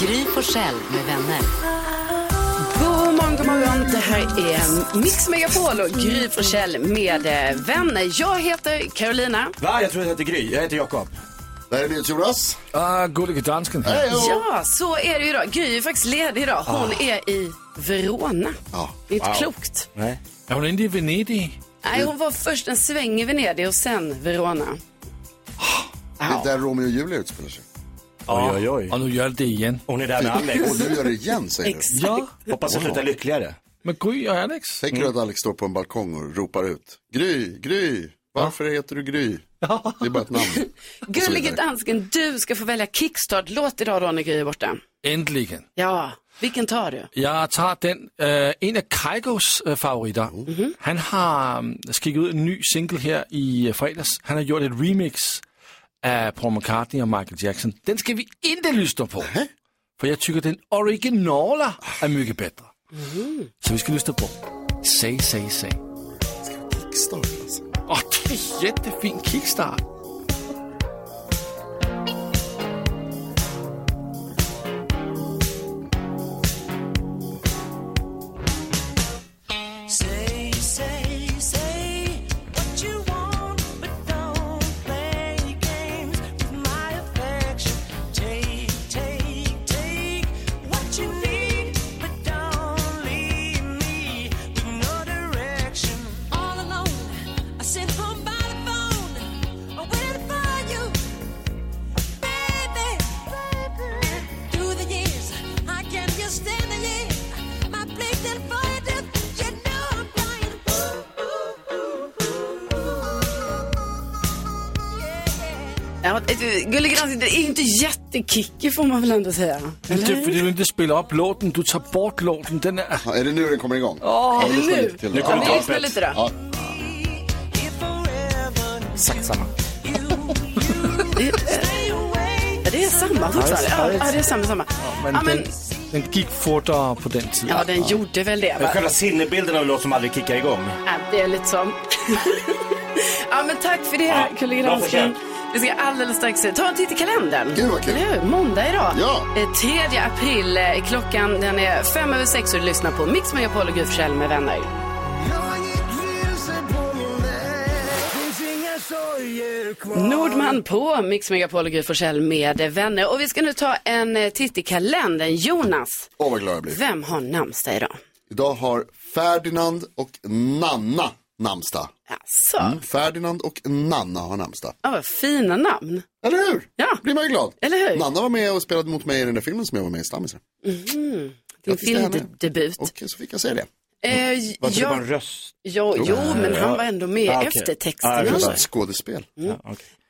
Gry Forssell med vänner. God morgon, god morgon. Det här är Mix Megapol och Gry Forssell med eh, vänner. Jag heter Carolina. Va? Jag tror jag heter Gry. Jag heter Jakob. Det här är NyhetsJonas. Ah, gullige dansken. Hej då! Ja, så är det ju idag. Gry är faktiskt ledig idag. Hon är i Verona. Ja. Det är inte Wow. klokt. Nej. Är hon inte i Venedig? Nej, hon var först en sväng i Venedig och sen Verona. Det är där Romeo och Julia utspelar sig. Oj, oj, oj. Och nu gör det igen. Hon är där med Och Alex. du gör det igen, säger du. Exakt. Ja, Hoppas hon slutar lyckligare. med Gry och Alex. Tänker du att Alex står på en balkong och ropar ut Gry, Gry, varför heter du Gry? Det är bara ett namn. Gullige dansken, du ska få välja kickstart-låt idag då när Gry är borta. Äntligen. Ja, vilken tar du? Jag tar den, eh, en av Kaikos eh, favoriter. Oh. Han har mm, skickat ut en ny singel här i eh, fredags. Han har gjort ett remix av Paul McCartney och Michael Jackson. Den ska vi inte lyssna på. För jag tycker den originala är mycket bättre. Mm-hmm. Så vi ska lyssna på Say, say, say. Kickstart alltså. Åh, det är jättefin kickstart. Ja, eh, Gullige dansken, det är ju inte jättekickig får man väl ändå säga. Inte typ för du inte spelar upp låten, du tar bort låten. Den är... Ja, Är det nu den kommer igång? Ja, vi lyssnar nu. lite till då. Nu kommer Ja, vi toppet. lyssnar lite då. Ja. Exakt samma. Ja, det är samma fortfarande. Ja, Ja, det är- ja, det är samma, samma. Men Ja, men, Den, den gick fortare på den tiden. ja den gjorde väl det. Men Va? själva sinnebilden av en låt som aldrig kickar igång. Ja, det är lite som. ja, men tack för det, Ja, Kulle bra Gransken. försök. Vi ska alldeles strax ta en titt i kalendern. Gud, vad kul. Eller hur? Måndag idag. Ja. Eh, 3 april. eh, Klockan den är fem över sex och du lyssnar på Mix Megapol och Gud Forssell med vänner. Nordman på Mix Megapol och Gry Forssell med vänner. Och vi ska nu ta en eh, titt i kalendern. Jonas, Åh, vad glad jag blir. vem har namnsdag idag? Idag har Ferdinand och Nanna namnsdag. Mm. Jaså, Mm. Ferdinand och Nanna har namnsdag. Alltså, ja, vad fina namn. Eller hur? Ja. blir man ju glad. Eller hur? Nanna var med och spelade mot mig i den där filmen som jag var med i, Stammisar. Din Grattis till henne. filmdebut. Och så fick jag se det. Eh, Var det bara ja, en röst? jo, jo, men han var ändå med i Ja, okej. Ja, eftertexterna. jag Just förstår. ett skådespel.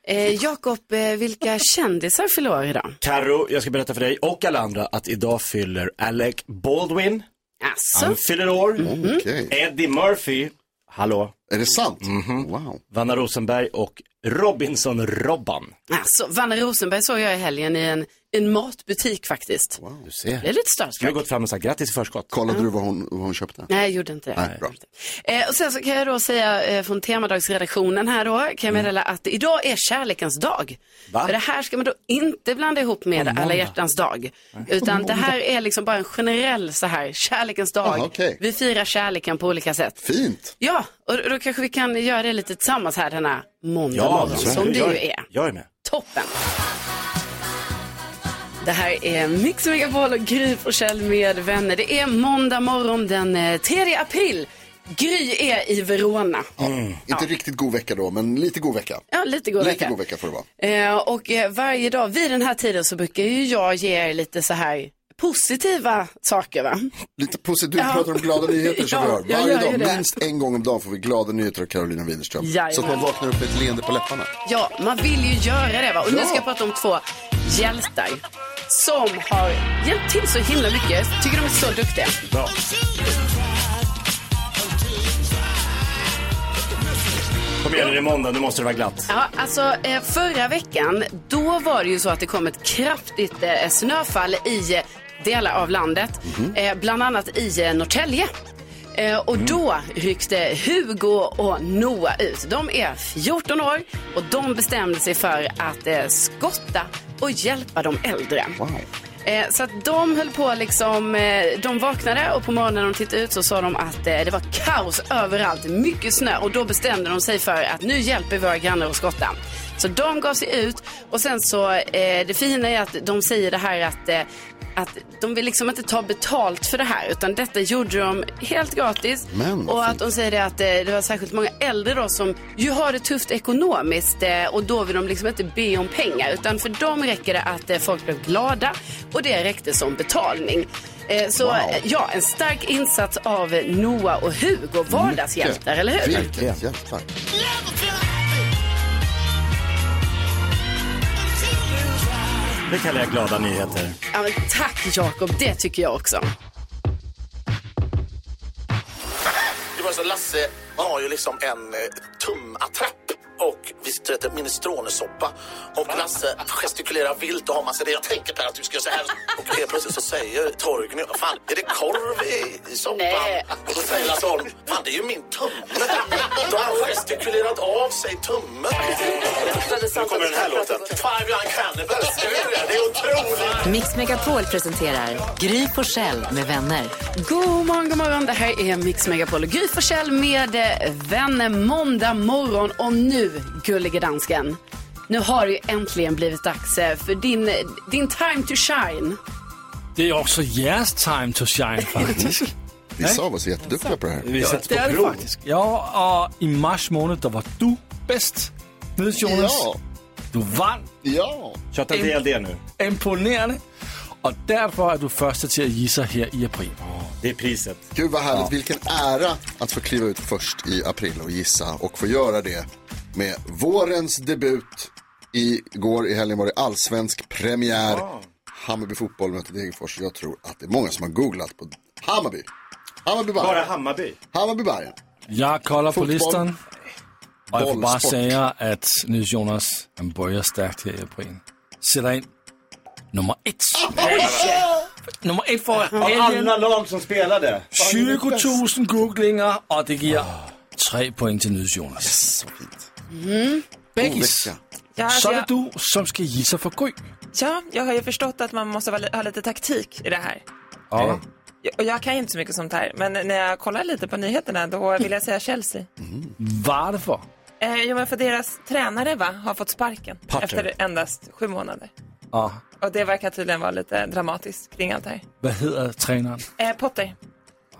eh, Jakob, eh, vilka kändisar fyller år idag? Karo, jag ska berätta för dig och alla andra att idag fyller Alec Baldwin. Han Alltså, fyller år. Mm. Okej. Mm. Eddie Murphy. Hallå. Är det sant? Mhm. Wow. Vanna Rosenberg och Robinson-Robban. alltså, Vanna Rosenberg såg jag i helgen i en, en matbutik faktiskt. Du ser. Det är lite Du har starstruck. gått fram och sagt grattis i förskott. Kollade du vad hon, vad hon köpte? Nej, jag gjorde inte det. Nej, bra. Eh, och sen så kan jag då säga eh, från temadagsredaktionen här då, kan Mm. jag meddela att idag är kärlekens dag. Va? För det här ska man då inte blanda ihop med alla hjärtans dag. Utan det här är liksom bara en generell så här, kärlekens dag. Jaha, okej. Vi firar kärleken på olika sätt. Fint. Ja, och då kanske vi kan göra det lite tillsammans här denna måndag morgon, så- som det jag, ju är. Jag är med. Toppen! Det här är Mix Megapol och Gry Forssell med vänner. Det är måndag morgon den eh, 3 april. Gry är i Verona. Mm. Inte riktigt god vecka då, men lite god vecka. Ja, lite god lite vecka. god vecka får det vara. Eh, och eh, varje dag vid den här tiden så brukar ju jag ge er lite så här positiva saker va? Lite positivt, du Ja. pratar om glada nyheter som Ja, vi jag har. Varje gör ju dag, det. minst en gång om dagen får vi glada nyheter av Carolina Widerström. Jajamän. Så att man vaknar upp med ett leende på läpparna. Ja, man vill ju göra det va? Och nu ska jag prata om två hjältar. som har hjälpt till så himla mycket. Tycker de är så duktiga. Bra. Kom igen, det är måndag, nu måste det vara glatt. Ja, alltså eh, förra veckan, då var det ju så att det kom ett kraftigt eh, snöfall i eh, delar av landet, eh, bland annat i eh, Norrtälje. Eh, och då ryckte Hugo och Noah ut. De är 14 år och de bestämde sig för att eh, skotta och hjälpa de äldre. Eh, så att de höll på liksom, eh, de vaknade och på morgonen när de tittade ut så sa de att eh, det var kaos överallt, mycket snö och då bestämde de sig för att nu hjälper våra grannar att skotta. Så de gav sig ut och sen så, eh, det fina är att de säger det här att eh, att de vill liksom inte ta betalt för det här utan detta gjorde de helt gratis. Men, vad och att fint. de säger det att eh, det var särskilt många äldre då som ju har det tufft ekonomiskt eh, och då vill de liksom inte be om pengar utan för dem räcker det att eh, folk blev glada och det räckte som betalning. Eh, Så eh, ja, en stark insats av eh, Noah och Hugo, vardagshjältar, eller hur? Vilket hjältar. Det kallar jag glada nyheter. Ja, men tack Jakob, det tycker jag också. Det var så Lasse han har ju liksom en eh, tumattrapp och vi sitter och äter minestronesoppa och Lasse gestikulerar vilt och har massa det. Jag tänker Per att du ska göra så här. Och helt plötsligt så säger Torgny, "Vad fan är det korv i, i soppan? Nej. Och då säger Lasse Holm, fan det är ju min tumme. Då har han gestikulerat av sig tummen. Nu kommer den här låten. Five Young Cannibals, det är det. Det är otroligt. Mix Megapol presenterar Gry Forssell med vänner. God morgon, god morgon. Det här är Mix Megapol och Gry Forssell med eh, vänner måndag morgon. Och nu, gullige dansken, nu har det ju äntligen blivit dags eh, för din, eh, din time to shine. Det är också jeres time to shine faktiskt. Vissa av oss är jätteduktiga på det här. Vi sätts det på är det prov. faktiskt. Ja, och i mars månad där var du bäst. Nils Jonas, Ja, du vann ja. Tjata inte ihjäl det nu. imponerande. Och därför är du första till att gissa här i april. Det är priset. Gud vad härligt. Vilken ära att få kliva ut först i april och gissa och få göra det med vårens debut. Igår i helgen var det allsvensk premiär. Hammarby fotboll möter Degerfors. Jag tror att det är många som har googlat på Hammarby. Hammarby Bara Bajen. Hammarby. Hammarby Bajen. Jag kollar på Fotboll. listan och jag får bara Bollsport. säga att Nils Jonas, han börjar starkt här i april. Sätta in nummer ett. nummer ett för helgen. lag som spelade. 20 000 googlingar och det ger tre poäng till Nils Jonas. Så fint. Mm. Bäggis. Så är det du som ska gissa för Gry. Ja, jag har ju förstått att man måste vara- ha lite taktik i det här. Ja. Jag- Och jag kan ju inte så mycket sånt här, men när jag kollar lite på nyheterna då vill jag säga Chelsea. Mm. Varför? Eh, jo, men för deras tränare va, har fått sparken Potter. efter endast sju månader. Ja. Och det verkar tydligen vara lite dramatiskt kring allt det här. Vad heter tränaren? Eh, Potter.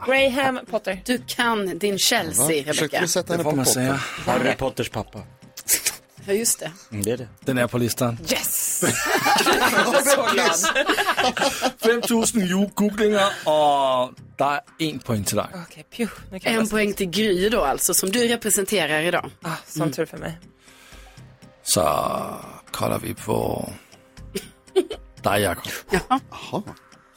Graham Potter. Du kan din Chelsea, Försökte Rebecca. vi sätta Det henne får på man potten? säga. Harry Potters pappa. Ja, just det. Mm, det är det. Den är på listan. Yes! 5000 ju- googlingar och det är en poäng till dig. Okej, pju. Nu kan jag En bara... poäng till Gry då alltså, som du representerar idag. ah, sån tur för mig. Så kollar vi på dig Jakob.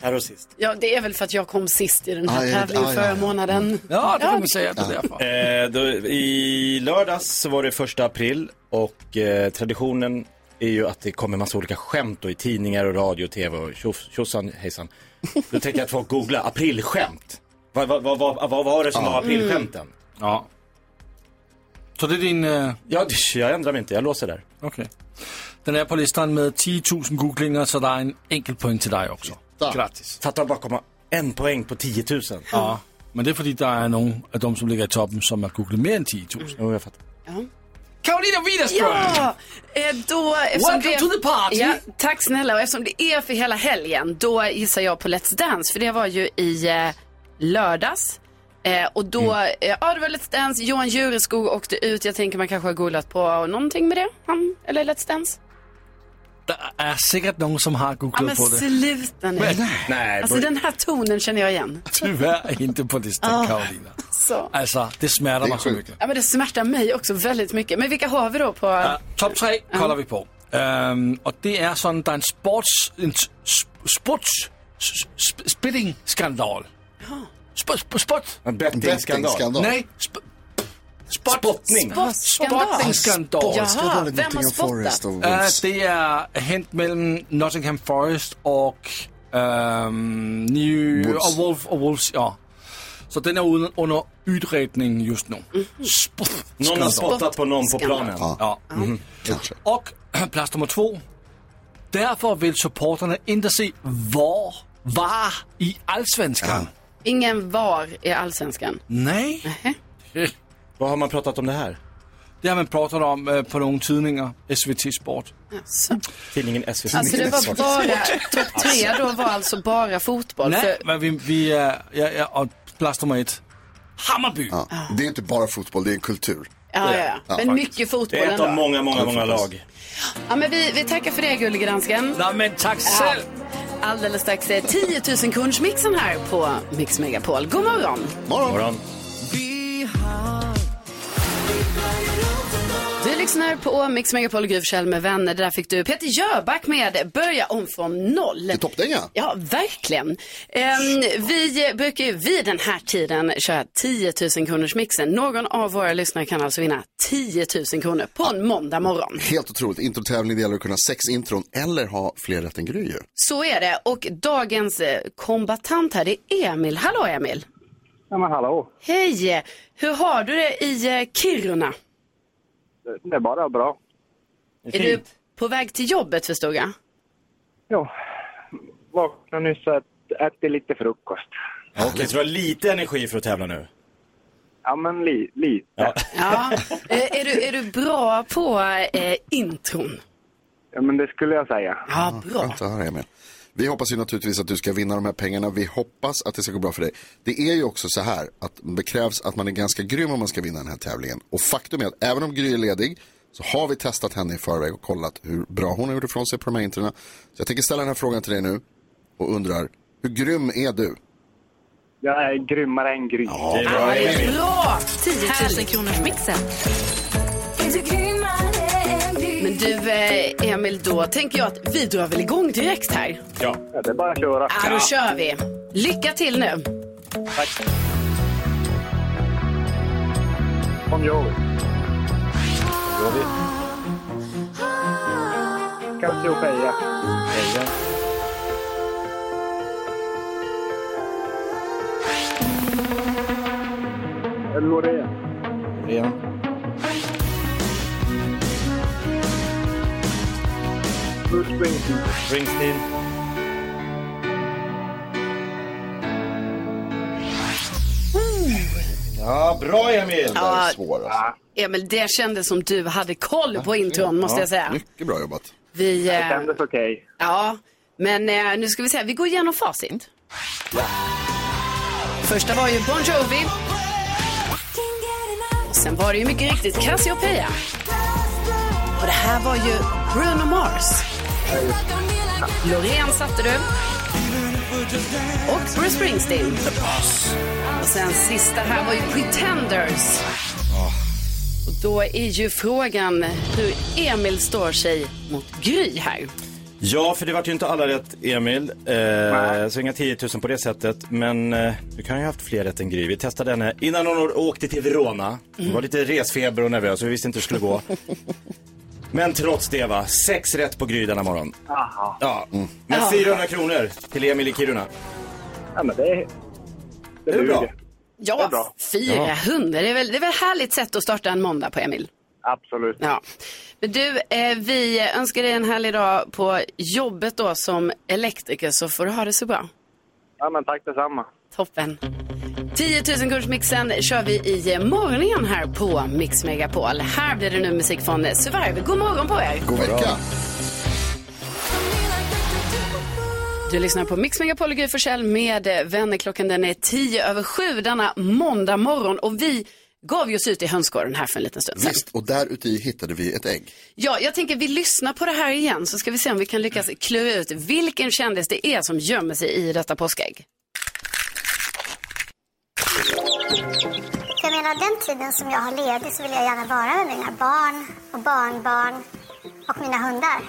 Här och sist. Ja, det är väl för att jag kom sist i den här Aj, tävlingen aj, förra aj. månaden. Ja, det kan vi säga att det är därför. Eh, då, I lördags så var det första april och eh, traditionen är ju att det kommer massa olika skämt då, i tidningar och radio och tv och tjof- tjosan hejsan. Då tänkte jag att folk googla aprilskämt. Vad vad- vad- vad- vad var det som var aprilskämten? Ja. Så det är din... eh, Ja, det- jag ändrar mig inte, jag låser där. Okej. Den är på listan med 10 000 googlingar så det är en enkel poäng till dig också. Där. Grattis. Fattar bara komma en poäng på 10 000. Ja. Men det är för att det är någon av de som ligger i toppen som har googlat mer än 10 000. Jo, jag fattar. Karolina Widerström! Ja, eh, då... eftersom Welcome to the party! Ja, tack snälla. Och eftersom det är för hela helgen, då gissar jag på Let's Dance. För det var ju i eh, lördags. Eh, och då, Mm. eh, ja det var Let's Dance, Johan Jureskog åkte ut. Jag tänker man kanske har googlat på någonting med det. Han, eller Let's Dance. Det är säkert någon som har Ja googlat men på det. sluta nu. Nej, Alltså bo- den här tonen känner jag igen. Tyvärr inte på listan, Karolina. Så. Alltså, det smärtar Det är mig så sjukt. mycket. Ja men det smärtar mig också väldigt mycket. Men vilka har vi då på... Ja, Topp tre kollar vi på. Øhm, og det er sådan, der er en sports... En s- sp- sports... s- Sp- spitting-skandal. Sp- sp- spot. En bettingskandal. Bettingskandal. Nej, sp- spot. Spottning. Sportskandal. Spotting-skandal. Ja. Ska dåligt vem har Nottingham spottat? Forest och Øh, Wolves. det er hent mellem Nottingham Forest og... Øhm, New... Wolves. Og, Wolf, og Wolves, ja. Så den er uden, under udredning just nu. Någon har Spot. spottat på någon på planen. Ja. Kanske. Och plats nummer två. Därför vill supporterna inte se var, var i allsvenskan. Ingen VAR i allsvenskan. Nej. Vad har man pratat om det här? Det har man pratat om eh, på några tidningar, SVT Sport. Så. Tidningen SVT. Alltså det var bara, topp tre då var alltså bara fotboll. Nej, För, men vi, vi eh, ja, ja, och plats nummer ett. Hammarby. Ja. Det är inte bara fotboll, det är en kultur. ja, ja, ja. Men mycket Det fotboll är ett av ändå. många, många, många lag. Ja, men vi, vi tackar för det, Gullegransken. Nej men tack själv. Alldeles strax är 10 000 kundsmixen här på Mix Megapol. God morgon! Morgon. Morgon. Du lyssnar på Mix Megapol och Gry Forssell med vänner. Där fick du Peter Jöback med Börja om från noll. Det är toppdänga. Ja, verkligen. Ehm, vi brukar ju vid den här tiden köra 10 000 kronors mixen. Någon av våra lyssnare kan alltså vinna 10 000 kronor på en måndag morgon. Helt otroligt. Introtävling, det gäller att kunna ha sex intron eller ha fler rätt än Gry ju. Så är det. Och dagens eh, kombatant här, det är Emil. Hallå Emil! Ja, men hallå. Hej! Hur har du det i eh, Kiruna? Det är bara bra. Är du på väg till jobbet förstod jag? Ja. Vaknade nyss och ät- äter lite frukost. Okej, så du har lite energi för att tävla nu? Ja, men li, lite. Ja. Ja. Eh, är, du, är du bra på eh, intron? men det skulle jag säga. Ja, bra. Skönt att höra Emil. Vi hoppas ju naturligtvis att du ska vinna de här pengarna. Vi hoppas att det ska gå bra för dig. Det är ju också så här att det krävs att man är ganska grym om man ska vinna den här tävlingen. Och faktum är att även om Gry är ledig så har vi testat henne i förväg och kollat hur bra hon har gjort ifrån sig på de här introna. Så jag tänker ställa den här frågan till dig nu och undrar, hur grym är du? Jag är grymmare än Gry. Det är bra, Emil. Bra! 10 000 kronors mixen. Men du, eh, Emil, då tänker jag att vi drar väl igång direkt här. Ja. Ja, det är bara att köra. Ja, då kör vi. Lycka till nu. Kom Jovi. Cassiopeia. Loreen. Loreen. Bruce Springsteen. Springsteen. Ja, bra Emil! Det där är svår alltså. Emil, det kändes som du hade koll på intron, måste jag säga. Mycket bra jobbat. Vi, Det eh, kändes okej. ja, men eh, nu ska vi se. Vi går igenom facit. Första var ju Bon Jovi. Och sen var det ju mycket riktigt Cassiopeia. Och det här var ju Bruno Mars. Loreen satte du. Och Bruce Springsteen. Och sen sista här var ju Pretenders. Och då är ju frågan hur Emil står sig mot Gry här. Ja, för det vart ju inte alla rätt Emil. Eh, så inga 10 000 på det sättet. Men eh, du kan ju ha haft fler rätt än Gry. Vi testade henne innan hon åkte till Verona. Hon var lite resfeber och nervös och vi visste inte hur det skulle gå. Men trots det va, sex rätt på Gry denna morgon. Jaha. Ja. Men 400 kronor till Emil i Kiruna. Ja, men det, det Det är bra. duger. Det är Ja, bra. 400. Det är väl det är väl ett härligt sätt att starta en måndag på, Emil. Absolut. Ja. Men du, eh, vi önskar dig en härlig dag på jobbet då som elektriker så får du ha det så bra. Ja, men tack detsamma. Toppen. 10 000 kursmixen kör vi i eh, morgon igen här på Mix Megapol. Här blir det nu musik från eh, Survivor. God morgon på er. God vecka. Du lyssnar på Mix Megapol och Gry Forssell med eh, vänner. Klockan den är 10 över 7 denna måndag morgon och vi gav ju oss ut i hönsgården här för en liten stund sedan. Visst, och där ute i hittade vi ett ägg. Ja, jag tänker vi lyssnar på det här igen så ska vi se om vi kan lyckas klura ut vilken kändis det är som gömmer sig i detta påskägg. Jag menar den tiden som jag har ledig så vill jag gärna vara med mina barn och barnbarn och skynda hundar.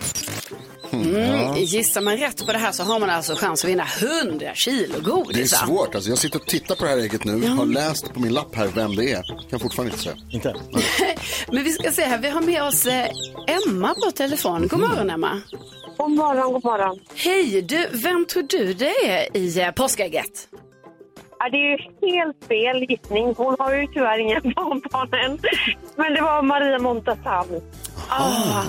Mm, gissar man rätt på det här så har man alltså chans att vinna 100 kilo godis. Det är va? svårt alltså. Jag sitter och tittar på det här ägget nu. Ja. Mm. Har läst på min lapp här vem det är. Kan fortfarande inte säga. Inte? Men vi ska se här, vi har med oss eh, Emma på telefon. God Mm. morgon Emma. God morgon, god morgon. Hej, du, vem tror du det är i eh, påskägget? Ja, det är ju helt fel gissning. Hon har ju tyvärr ingen barnbarn än. Men det var Maria Montazami. Ah.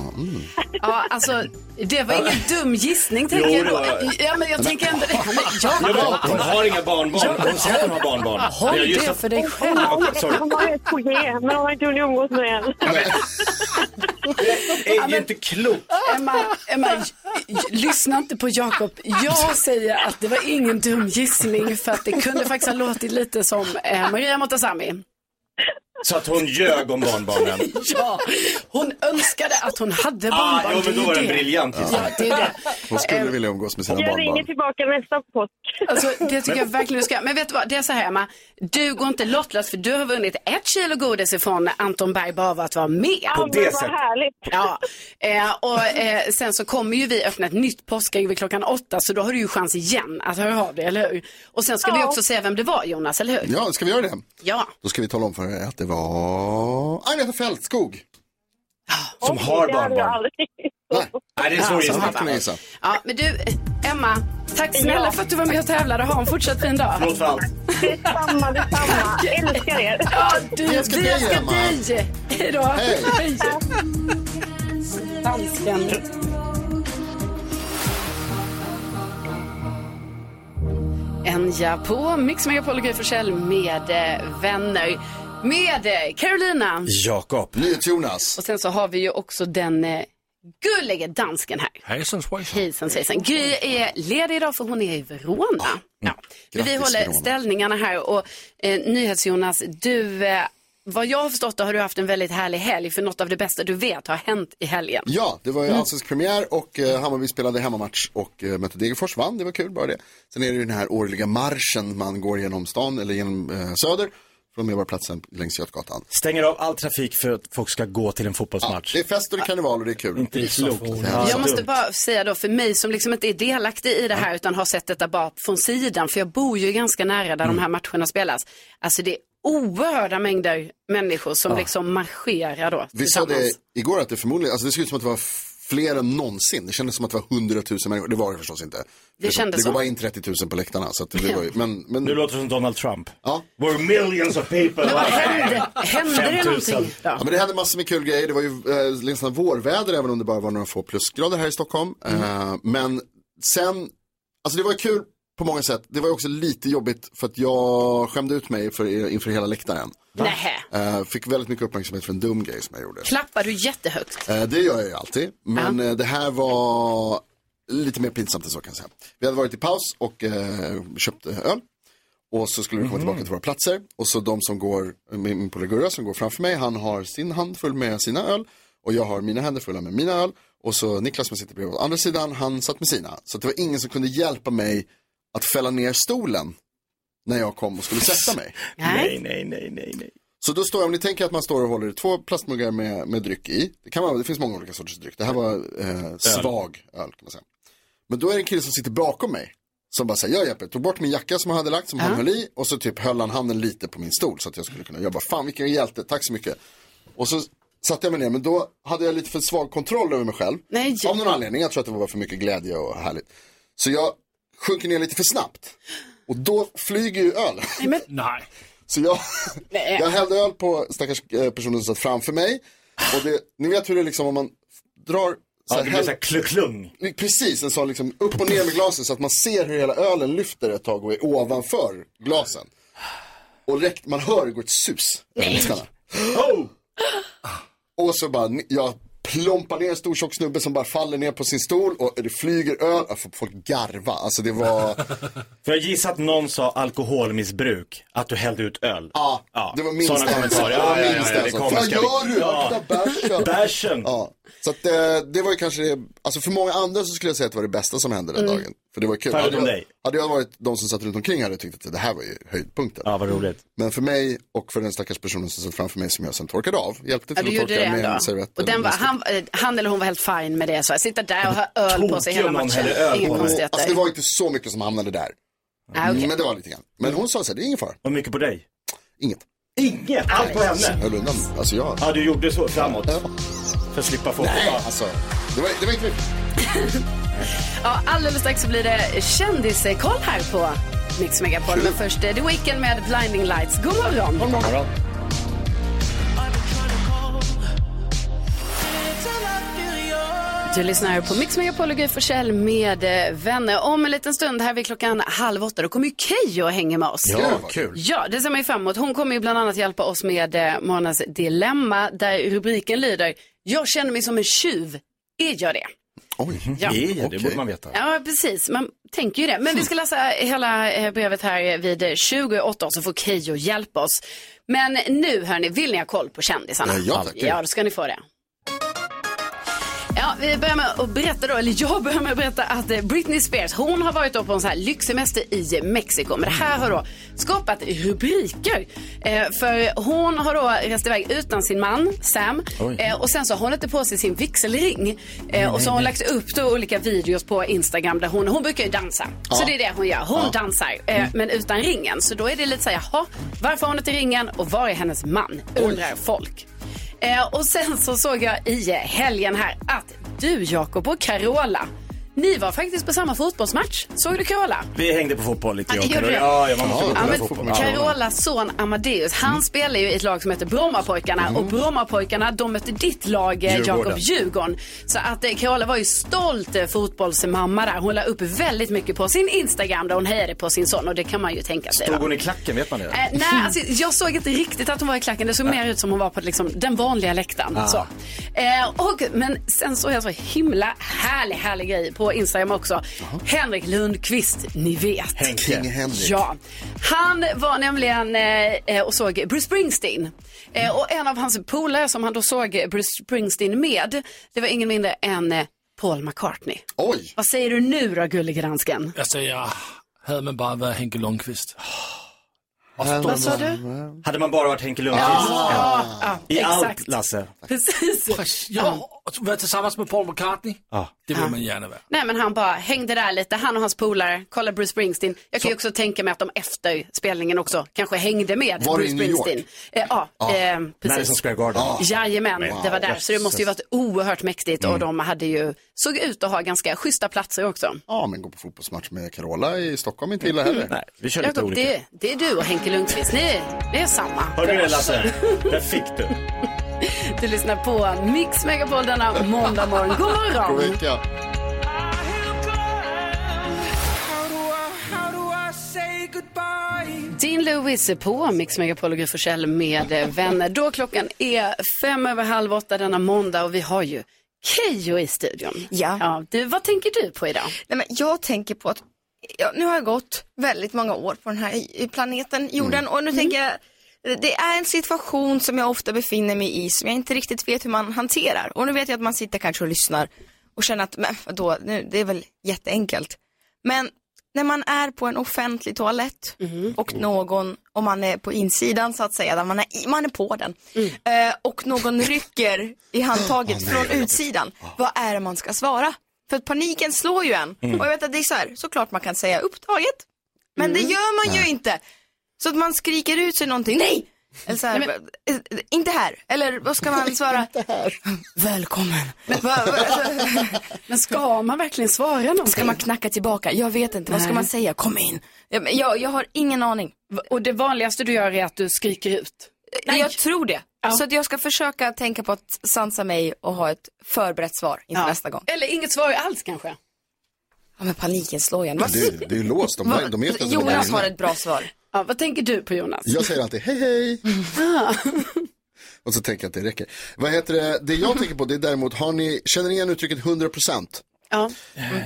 Ja, alltså, det var ingen dum gissning tänker Jo, jag det var då. det. Ja, men jag tänker ändå det. Men Ja, men jag... hon har inga barnbarn. Hon säger att hon har barnbarn. Håll Jag gissar- det för dig själv. Hon har- Okej, sorry. hon har ju ett på G, men hon har inte hunnit umgås med än. Det är ju inte klokt. Emma, Emma, j- j- lyssna inte på Jakob. Jag säger att det var ingen dum gissning för att det kunde faktiskt ha låtit lite som eh, Maria Montazami. Så att hon ljög om barnbarnen. Ja, hon önskade att hon hade barnbarn. Ah, jo, men är då var ju den briljant. Ja, det är det. Hon skulle vilja umgås med sina barnbarn. tillbaka nästa påsk. Alltså, det tycker jag verkligen du ska. Men vet du vad, det är så här Emma. Du går inte lottlös för du har vunnit ett kilo godis ifrån Anton Berg bara av att vara med. Ja, men vad härligt. Ja, eh, och eh, sen så kommer ju vi öppna ett nytt påskägg vid klockan åtta så då har du ju chans igen att höra av dig, eller hur? Och sen ska vi också säga vem det var Jonas, eller hur? Ja, ska vi göra det? Ja. Då ska vi tala om för er att det var Agneta Fältskog. Som har barnbarn. Nej, det är en svår Ja, som gissning. har kunnat gissa. Ja, men du, eh, Emma, tack snälla för att du var med och tävlade. Ha en fortsatt fin dag. Förlåt för allt. Detsamma, detsamma. Älskar er. Ja, du, Jag vi älskar älskar dig, dig, Emma. Hej då. Hej. Dansken. Enja på Mix Megapol och Gry Forssell med eh, vänner. Med eh, Carolina. Jakob. Jonas. Och sen så har vi ju också den eh, gullige dansken här. Hejsan svejsan. Hejsan svejsan. Gry är ledig idag för hon är i Verona. Ja. Men vi Grattis, håller Verona. ställningarna här och eh, NyhetsJonas, du, eh, vad jag har förstått då har du haft en väldigt härlig helg för något av det bästa du vet har hänt i helgen. Ja, det var ju Mm. allsvensk premiär och eh, Hammarby spelade hemmamatch och eh, mötte Degerfors, vann, det var kul bara det. Sen är det ju den här årliga marschen man går genom stan, eller genom eh, Söder, från Medborgarplatsen längs Götgatan. Stänger av all trafik för att folk ska gå till en fotbollsmatch. Det är fest och det är karneval och det är kul. Inte klokt. jag måste bara säga då för mig som liksom inte är delaktig i det här utan har sett detta bara från sidan, för jag bor ju ganska nära där de här matcherna spelas. Alltså det är oerhörda mängder människor som Ja. liksom marscherar då Vi sa det igår att det förmodligen, alltså det såg ut som att det var fler än någonsin. Det kändes som att det var 100 000 människor, det var det förstås inte. Det, kändes det så. går bara in 30 000 på läktarna. Så att det var ju, men, men... Nu låter det som Donald Trump. Ja. We're millions of people. Men vad hände? Hände det 5000. någonting då? Ja, men det hände massor med kul grejer. Det var ju eh, liksom vårväder även om det bara var några få plusgrader här i Stockholm. Mm. Eh, men sen, alltså det var kul på många sätt. Det var ju också lite jobbigt för att jag skämde ut mig för, inför hela läktaren. Nähä. Eh, fick väldigt mycket uppmärksamhet för en dum grej som jag gjorde. Klappar du jättehögt? Eh, Det gör jag ju alltid, men eh, det här var lite mer pinsamt än så kan jag säga. Vi hade varit i paus och eh, köpt eh, öl. Och så skulle vi komma tillbaka till våra platser. Och så de som går, min min polare Gurra som går framför mig, han har sin hand full med sina öl. Och jag har mina händer fulla med mina öl. Och så Niklas som sitter bredvid åt andra sidan, han satt med sina. Så att det var ingen som kunde hjälpa mig att fälla ner stolen när jag kom och skulle sätta mig. Nej, nej, nej, nej, nej. Så då står jag, om ni tänker att man står och håller i två plastmuggar med, med dryck i. Det, kan man, det finns många olika sorters dryck. Det här var eh, svag öl kan man säga. Men då är det en kille som sitter bakom mig. Som bara säger, jag hjälper. Tog bort min jacka som han hade lagt, som han höll i. Och så typ höll han handen lite på min stol så att jag skulle kunna jobba. Fan vilken hjälte, tack så mycket. Och så satte jag mig ner, men då hade jag lite för svag kontroll över mig själv. Av någon anledning, jag tror att det var för mycket glädje och härligt. Så jag sjunker ner lite för snabbt. Och då flyger ju öl. Nej, men... Nej. Så jag, Eh. Eh, jag hällde öl på stackars eh, personen som satt framför mig. Och det, ni vet hur det är liksom om man drar Ja, det blir häll- så här klucklung. Precis, en sån liksom upp och ner med glasen så att man ser hur hela ölen lyfter ett tag och är ovanför glasen. Och räck, man hör hur det går ett sus över diskarna. Och så bara, jag plompar ner en stor tjock snubbe som bara faller ner på sin stol och det flyger öl. Alltså, Folk garva, alltså det var... För jag gissar att någon sa alkoholmissbruk, att du hällde ut öl. Ja, det var minst Sådana en kommentarer. sak. Ja, ja, ja, minst ja, en det sak. kommer Vad ska gör vi- du? Akta bärsen. Bärsen. Ja. Så att, eh, det var ju kanske det, alltså för många andra så skulle jag säga att det var det bästa som hände den Mm. dagen. För det var kul. Förutom Hade jag, dig. hade jag varit de som satt runt omkring hade jag tyckt att det här var ju höjdpunkten. Ja, vad roligt. Men för mig och för den stackars personen som satt framför mig som jag sen torkade av, hjälpte Ja, till du att gjorde det torka med en ändå. servett. Mm. Och eller den var, något. han, eh, han eller hon var helt fine med det. Så jag sitter där och har öl på sig hela matchen. Inga konstigheter. Alltså det var inte så mycket som hamnade där. Ah, okej. Men det var lite grann. Men hon sa så här, det är ingen fara. Och mycket på dig? Inget. Inget? Allt på henne? Höll undan. Alltså jag. Ja, du gjorde så framåt. För att slippa få... Nej, alltså. Det var, det var inte Ja, alldeles strax så blir det kändiskoll här på Mix Megapol. Men först eh, The Weeknd med Blinding Lights. God morgon! God morgon. Du lyssnar på Mix Megapol och Gry Forssell med eh, vänner. Om en liten stund, här vid klockan halv åtta, då kommer ju Keyyo och hänger med oss. Ja, kul. Ja, det ser man ju fram emot. Hon kommer ju bland annat hjälpa oss med eh, morgonens dilemma där rubriken lyder Jag känner mig som en tjuv. Är jag det? Oj, Ja. det, Mm-hmm. är det borde man veta. Ja, precis. Man tänker ju det. Men vi ska läsa hela eh, brevet här vid eh, 28 år så får Keyyo hjälpa oss. Men nu hörni, vill ni ha koll på kändisarna? Ja, ja, tack. ja, då ska ni få det. Ja, vi börjar med att berätta då, eller jag börjar med att berätta att eh, Britney Spears, hon har varit då på en sån här lyxsemester i Mexiko. Men det här har då skapat rubriker. Eh, för hon har då rest iväg utan sin man Sam. Oj. Eh, och sen så har hon inte på sig sin vigselring. Eh, och så har hon Nej, lagt upp då olika videos på Instagram där hon, hon brukar ju dansa. Så Ja. det är det hon gör. Hon Ja. Mm. dansar eh, men utan ringen. Så då är det lite så här, jaha, varför har hon inte ringen och var är hennes man? Undrar folk. Eh, och sen så såg jag i eh, helgen här att du Jakob och Carola, ni var faktiskt på samma fotbollsmatch. Såg du Carola? Vi hängde på fotboll lite. Ja, jag det och gjorde Carola. Ja, det. ja, man måste Ja, gå på men fotboll. Carolas son Amadeus, han Mm. spelar ju i ett lag som heter Brommapojkarna och Brommapojkarna, de mötte ditt lag eh, Djurgården. Jakob Djurgården. Så att eh, Carola var ju stolt eh, fotbollsmamma där. Hon la upp väldigt mycket på sin Instagram där hon hejade på sin son och det kan man ju tänka sig. Stod va? hon i klacken, vet man det? Eh, nej, alltså, jag såg inte riktigt att hon var i klacken. Det såg mer ut som hon var på liksom, den vanliga läktaren. Ah. Så. Eh, och, men sen såg jag så himla härlig, härlig grej på Instagram också. Henrik Lundqvist, ni vet. Henke. King Henrik. Ja. Han var nämligen eh, eh, och såg Bruce Springsteen. Eh, och en av hans polare som han då såg Bruce Springsteen med, det var ingen mindre än eh, Paul McCartney. Oj! Vad säger du nu då, gullegransken? Jag säger, ah, hade man bara varit Henke Lundqvist. Vad sa du? Hade man bara varit Henke Lundqvist? Ja, ja, I exakt. allt, Lasse. Precis. Ja, och vara tillsammans med Paul McCartney, Ja. det vill man gärna vara. Nej men han bara hängde där lite, han och hans polare, kolla Bruce Springsteen. Jag kan ju också tänka mig att de efter spelningen också kanske hängde med Var det Bruce i New York? Ah. Springsteen. Eh, ja, Ja. eh, Madison precis. Square Garden. Jajamän, Men- det var där. Så det måste ju varit oerhört mäktigt och Mm. de hade ju, såg ut att ha ganska schyssta platser också. Ja, men gå på fotbollsmatch med Carola i Stockholm är inte illa heller. Mm. Nej, vi Jakob, det, det är du och Henke Lundqvist, ni, ni är samma. Hörde du det Lasse? Där fick du. Du lyssnar på Mix Megapol denna måndag morgon. God morgon! God vecka. Dean Lewis är på Mix Megapol och Gry Forssell med eh, vänner. Då klockan är fem över halv åtta denna måndag och vi har ju Keyyo i studion. Ja. du, vad tänker du på idag? Nej, men jag tänker på att ja, nu har jag gått väldigt många år på den här i- planeten jorden Mm. och nu tänker jag det är en situation som jag ofta befinner mig i som jag inte riktigt vet hur man hanterar. Och nu vet jag att man sitter kanske och lyssnar och känner att, men vadå, nu, det är väl jätteenkelt. Men när man är på en offentlig toalett Mm-hmm. och någon, om man är på insidan så att säga, där man är, i- man är på den, eh, och någon rycker i handtaget från utsidan, vad är det man ska svara? För att paniken slår ju en. Mm. Och jag vet att det är så här, såklart man kan säga upptaget, men det Mm. gör man ju inte. Så att man skriker ut sig någonting, nej! Eller så här, "Eh, inte här. Eller vad ska man svara? Välkommen. Men ska man verkligen svara någonting? Ska man knacka tillbaka? Jag vet inte, vad ska Nej. man säga? Kom in. Ja, men Jag, jag har ingen aning. Och det vanligaste du gör är att du skriker ut? Jag tror det. Så att jag ska försöka tänka på att sansa mig och ha ett förberett svar inför nästa gång. Eller inget svar alls kanske? Ja men paniken slår igen. Men Det, det är ju låst, de, de vet att de är där inne. bra svar. Ja, vad tänker du på Jonas? Jag säger alltid hej hej. Och så tänker jag att det räcker. Vad heter det, det jag tänker på det är däremot, har ni, känner ni igen uttrycket 100%? Ja.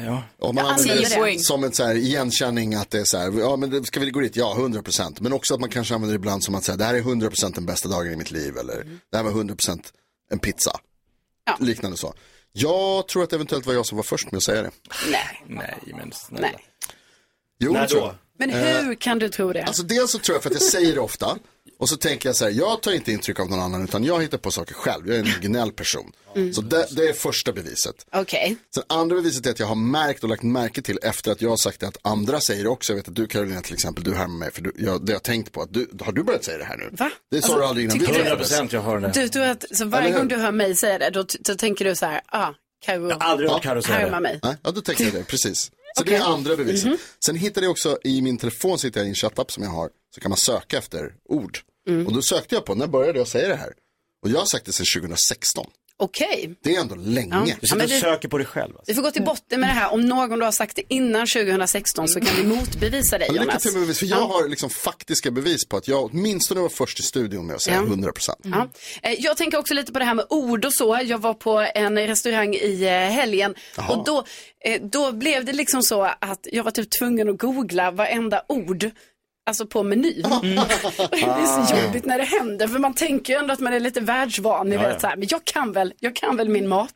Ja. Om man Jag använder använder det det. som en så här igenkänning att det är så här, ja men det- ska vi gå dit? Ja, 100%. Men också att man kanske använder det ibland som att säga, det här är 100% den bästa dagen i mitt liv eller det här var 100% en pizza. liknande sa. Jag tror att det eventuellt var jag som var först med att säga det. Nej. Nej, men snälla. Nej. Jo, När tror då? jag. Men Eh, hur kan du tro det? Alltså dels så tror jag för att jag säger det ofta. Och så tänker jag så här, jag tar inte intryck av någon annan utan jag hittar på saker själv. Jag är en originell person. Mm. Så det, det är första beviset. Okej. Sen andra beviset är att jag har märkt och lagt märke till efter att jag har sagt det att andra säger det också. Jag vet att du Carolina till exempel, du härmar mig för du, jag, det har jag tänkt på att du, har du börjat säga det här nu? Va? Det sa Alltså, du aldrig innan vi tycker du- träffades. 100% jag har den Du tror att så varje Eller hur? gång du hör mig säga det, då, t- då tänker du så här, ah, Karo. Jag aldrig hört Karo säga det. härma mig. Nej, ja, då tänker jag det, precis. Så det är Okej. andra beviset. Mhm. Sen hittade jag också, i min telefon sitter jag i en chattapp som jag har, så kan man söka efter ord. Mm. Och då sökte jag på, när började jag säga det här? Och jag har sagt det sedan 2016. Okej. Det är ändå länge. Ja. Du sitter och Ja, men det- söker på dig själv. alltså. Vi får gå till botten med det här. Om någon då har sagt det innan 2016 så kan vi motbevisa dig, Lycka Jonas. till med bevis, för jag alltså, har liksom faktiska bevis på att jag åtminstone var först i studion med att säga Ja. 100%. Ja. Eh, Jag tänker också lite på det här med ord och så. Jag var på en restaurang i eh, helgen och då, eh, då blev det liksom så att jag var typ tvungen att googla varenda ord. Alltså på menyn. Och det är så Mm. Ah. jobbigt när det händer för man tänker ju ändå att man är lite världsvan. Ni Ja, ja. Mm. vet, så här, men jag kan, väl, jag kan väl min mat.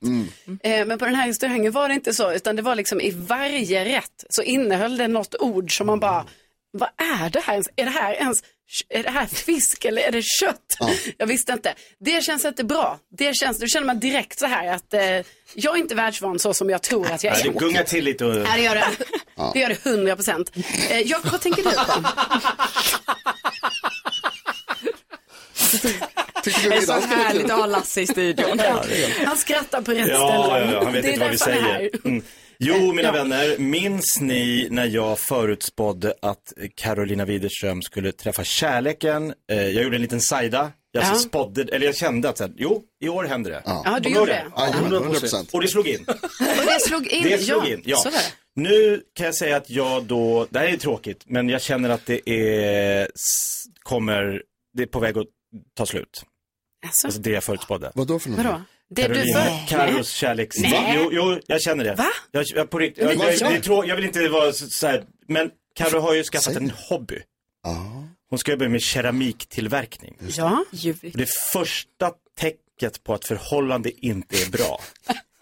Eh, Men på den här restaurangen var det inte så utan det var liksom i varje rätt så innehöll det något ord som man bara, vad är det här ens? Är det här ens, är det här fisk eller är det kött? Jag visste inte. Det känns inte bra. Det känns, då känner man direkt så här att eh, jag är inte världsvan så som jag tror att jag Nej, är. det gungar till lite och... Nej, det gör det. Ja. Det gör det hundra procent. Eh, Jakob, vad tänker du på? Tycker Det är så härligt att ha Lasse i studion. Han skrattar på rätt Ja, ställe. ja, ja, han vet det är inte vad vi därför han säger. är här. Eh, Mm. Jo, mina vänner, minns ni när jag förutspådde att Carolina Widerström skulle träffa kärleken? Eh, Jag gjorde en liten sajda. Jag Ja. ja. spådde, eller jag kände att så här, jo, i år händer det. Ja, du Kommer gjorde ihåg det. Ja, Ja. 100%. Och det slog in. Och det slog in. Det slog ja. in, ja. Så var det. Nu kan jag säga att jag då, det här är tråkigt, men jag känner att det är, s- kommer, det är på väg att ta slut. Alltså? Alltså det jag förutspådde. Vad då för Vadå? Det du Carolina, för... Carros kärleks... Nej. Jo, jo, jag känner det. Va? Jag, jag, på riktigt, Men jag, det- jag, det är trå- jag vill inte vara så, så här, men Carro har ju skaffat en hobby. Hon ska ju börja med keramiktillverkning. Ja. Och Det första tecknet på att förhållande inte är bra,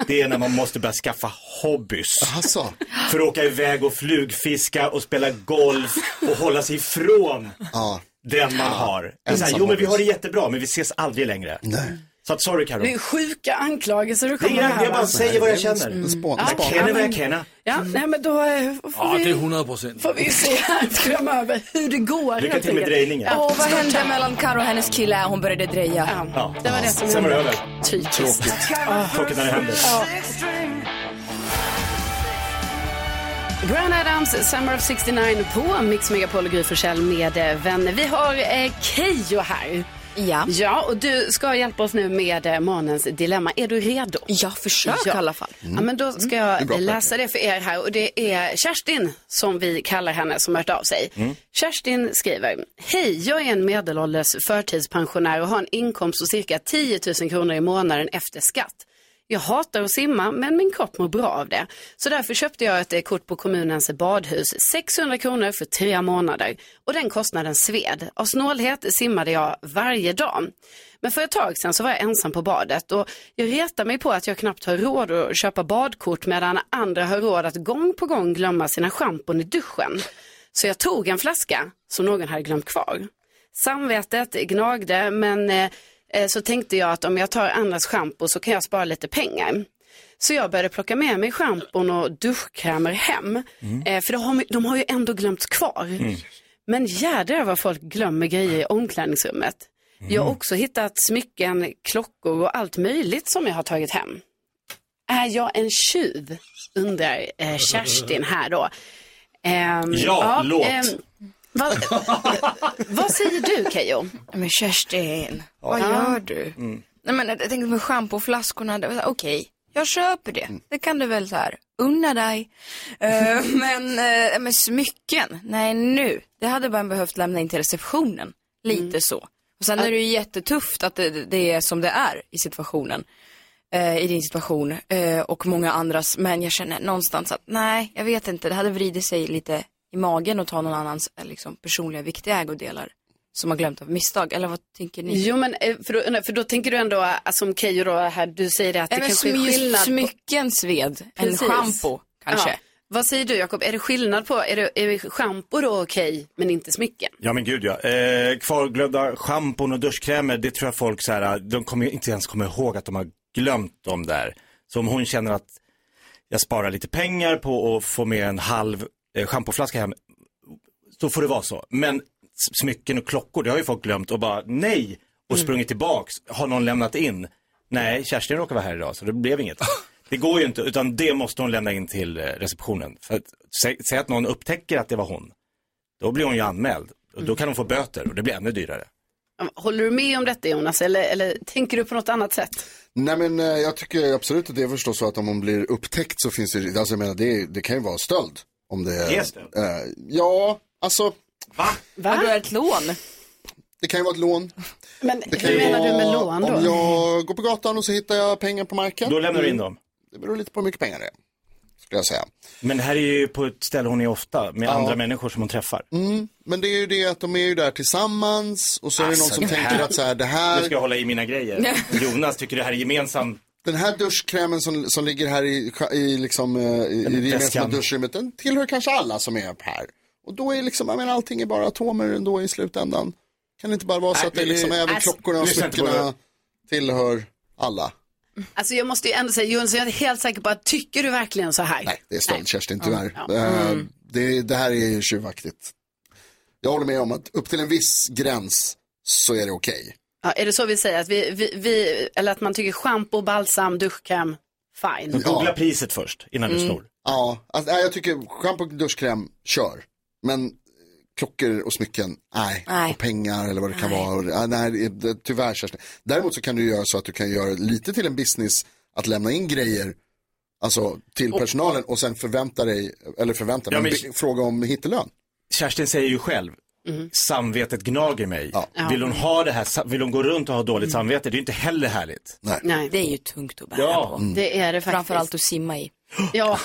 det är när man måste börja skaffa hobbys. Alltså. För att åka iväg och flugfiska och spela golf och hålla sig ifrån Ja. den man har. Det är så här, Ensam jo men vi har det hobbys. jättebra men vi ses aldrig längre. Så att sorry Carro. Det är sjuka anklagelser du Det kommer är, alltså- Mm. jag va? bara säger vad jag känner. Ja, Jag känner vad men- jag känner. Ja, nej men då eh, får Ja, vi... det är 100 procent. får vi se här framöver hur det går. Lycka helt till med enkelt. drejningen. Ja, Åh, vad snart hände här. mellan Karo och hennes kille? Hon började dreja. Ja. Det var det som Sen var det hände. över. Typiskt. Ah. Tråkigt. Tråkigt när det händer. Ja. Brian Adams, Summer of 69 på Mix Megapol och Gry Forssell med eh, vänner. Vi har eh, Keyyo här. Ja. ja, och du ska hjälpa oss nu med eh, månens dilemma. Är du redo? Ja, försök i alla fall. Ja, men då ska Det är jag bra, eh, läsa det för er här. Och det är Kerstin, som vi kallar henne, som har hört av sig. Mm. Kerstin skriver, hej, jag är en medelålders förtidspensionär och har en inkomst på cirka 10 000 kronor i månaden efter skatt. Jag hatar att simma, men min kropp mår bra av det. Så därför köpte jag ett eh, kort på kommunens badhus, 600 kronor för tre månader. Och den kostnaden sved. Av snålhet simmade jag varje dag. Men för ett tag sedan så var jag ensam på badet och jag retar mig på att jag knappt har råd att köpa badkort medan andra har råd att gång på gång glömma sina schampon i duschen. Så jag tog en flaska som någon hade glömt kvar. Samvetet gnagde men eh, eh, så tänkte jag att om jag tar andras schampo så kan jag spara lite pengar. Så jag började plocka med mig schampon och duschkrämer hem. Eh, för de har, de har ju ändå glömts kvar. Men jädrar vad folk glömmer grejer i omklädningsrummet. Jag har också hittat smycken, klockor och allt möjligt som jag har tagit hem. Är jag en tjuv? Undrar eh, Kerstin här då. Ehm, Ja, låt. ehm, vad, vad säger du Keyyo? Men Kerstin, Ja. vad Ja. gör du? Nej men jag tänkte med schampoflaskorna, det var så här, okej, jag köper det. Det kan du väl så här unna dig. Eh, men, eh, men smycken, nej nu. Det hade man behövt lämna in till receptionen. Lite så. Och sen är det ju jättetufft att det, det är som det är i situationen. eh, I din situation eh, och många andras. Men jag känner någonstans att nej, jag vet inte. Det hade vridit sig lite i magen att ta någon annans eh, liksom, personliga viktiga ägodelar som har glömt av misstag? Eller vad tänker ni? Jo, men eh, för då, nej, för då tänker du ändå, alltså, som Keyyo då här, du säger att det Även kanske är smy- skillnad på- smycken sved, en Precis. schampo kanske. Ja. Vad säger du Jakob, är det skillnad på, är, det, är schampo då okej, men inte smycken? Ja men gud ja. Eh, kvarglömda schampon och duschkrämer, det tror jag folk så här, de kommer ju inte ens komma ihåg att de har glömt dem där. Så om hon känner att jag sparar lite pengar på att få med en halv eh, schampoflaska hem, så får det vara så. Men s- smycken och klockor, det har ju folk glömt och bara nej och sprungit tillbaks. Har någon lämnat in? Nej, Kerstin råkar vara här idag så det blev inget. Det går ju inte, utan det måste hon lämna in till eh, receptionen. För att, sä, säg att någon upptäcker att det var hon. Då blir hon ju anmäld. Och då kan hon få böter och det blir ännu dyrare. Håller du med om detta Jonas, eller, eller tänker du på något annat sätt? Nej men eh, jag tycker absolut att det är förstås så att om hon blir upptäckt så finns det, alltså jag menar det, det kan ju vara stöld. Om det Det är stöld? ja, alltså. Va? Va? Vadå ett lån? Det kan ju vara ett lån. Men Det kan ju vara- Om jag går på gatan och så hittar jag pengar på marken. Mm, Då lämnar du in dem. Det beror lite på hur mycket pengar det är. Skulle jag säga. Men det här är ju på ett ställe hon är ofta med andra människor som hon träffar. Mm. Men det är ju det att de är ju där tillsammans och så är det någon Alltså, som det här- tänker att så här, det här. Nu ska jag hålla i mina grejer. Jonas tycker det här är gemensam. Den här duschkrämen som, som ligger här i, i, liksom, eh, i, i det gemensamma väskan. duschrummet, den tillhör kanske alla som är här. Och då är liksom, jag menar allting är bara atomer ändå i slutändan. Kan det inte bara vara så Nej, att det är liksom nu- även alltså, klockorna och lyssna inte på smyckena det. tillhör alla? Alltså jag måste ju ändå säga, Jonas, jag är inte helt säker på att tycker du verkligen så här? Nej. Det är stöld Kerstin, tyvärr. Ja. Eh, Mm. Det, det här är ju tjuvaktigt. Jag håller med om att upp till en viss gräns så är det okej. Ja, är det så vi säger, att, vi, vi, vi, eller att man tycker schampo, balsam, duschkräm, fine? Googla priset först innan du Mm. snor. Ja, alltså, nej, jag tycker schampo och duschkräm, kör. Men eh, klockor och smycken, nej. Nej. Och pengar eller vad det kan vara. Och, ja, nej, det- det, tyvärr Kerstin. Däremot så kan du göra så att du kan göra lite till en business att lämna in grejer alltså, till personalen och sen förvänta dig, eller förvänta dig, Ja, men- be- fråga om hittelön. Kerstin säger ju själv, samvetet gnager mig. Mm. Ja. Mm. Vill hon ha det här, sa- vill hon gå runt och ha dåligt samvete? Det är ju inte heller härligt. Nej. Det är ju tungt att bära Ja. på. Mm. Det är det faktiskt. Framförallt att simma i. Ja,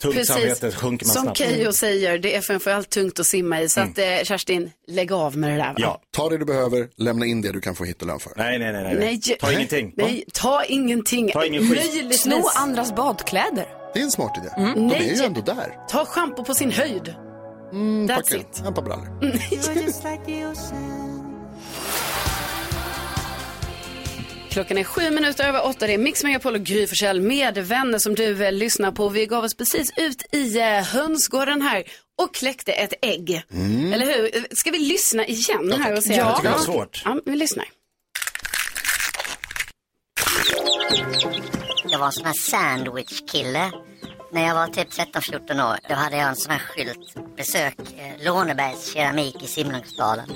Tungt samvete sjunker man Som snabbt. Keyyo säger, det är framförallt tungt att simma i. Så Mm. att, eh, Kerstin, lägg av med det där. Va? Ta det du behöver, lämna in det du kan få hittelön för. Nej, nej, nej. Nej, Ta ingenting. Nej, ta ingenting. Ta ingen skit. Möjligtvis. Sno andras badkläder. Det är en smart idé. Mm. De är Nej. ju ändå där. Ta schampo på sin höjd. That's Packa- it. Mm. Ett par brallor. Klockan är sju minuter över åtta. Det är Mix Megapol och Gry Forssell med vänner som du eh, lyssnar på. Vi gav oss precis ut i eh, hönsgården här och kläckte ett ägg. Mm. Eller hur? Eh, Ska vi lyssna igen här och se? Jag tycker det är svårt. Ja, vi lyssnar. Jag var en sån här sandwich-kille. När jag var typ 13-14 år, då hade jag en sån här skylt. Besök eh, Lånebergs keramik i Simlångsdalen.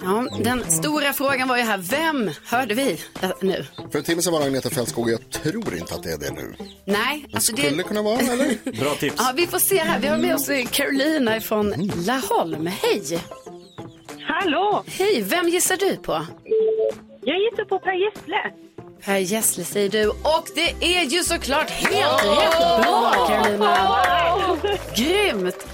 Ja, den stora frågan var ju här, vem hörde vi eh, nu? För en timme sedan var det Agneta Fältskog och jag tror inte att det är det nu. Nej, Det alltså skulle kunna vara, eller? Bra tips. Ja, vi får se här. Vi har med oss eh, Carolina från Laholm. Hej! Hallå! Hej! Vem gissar du på? Jag gissar på Per Gessle. Per Gessle säger du. Och det är ju såklart helt rätt. Bra, Carolina! Grymt!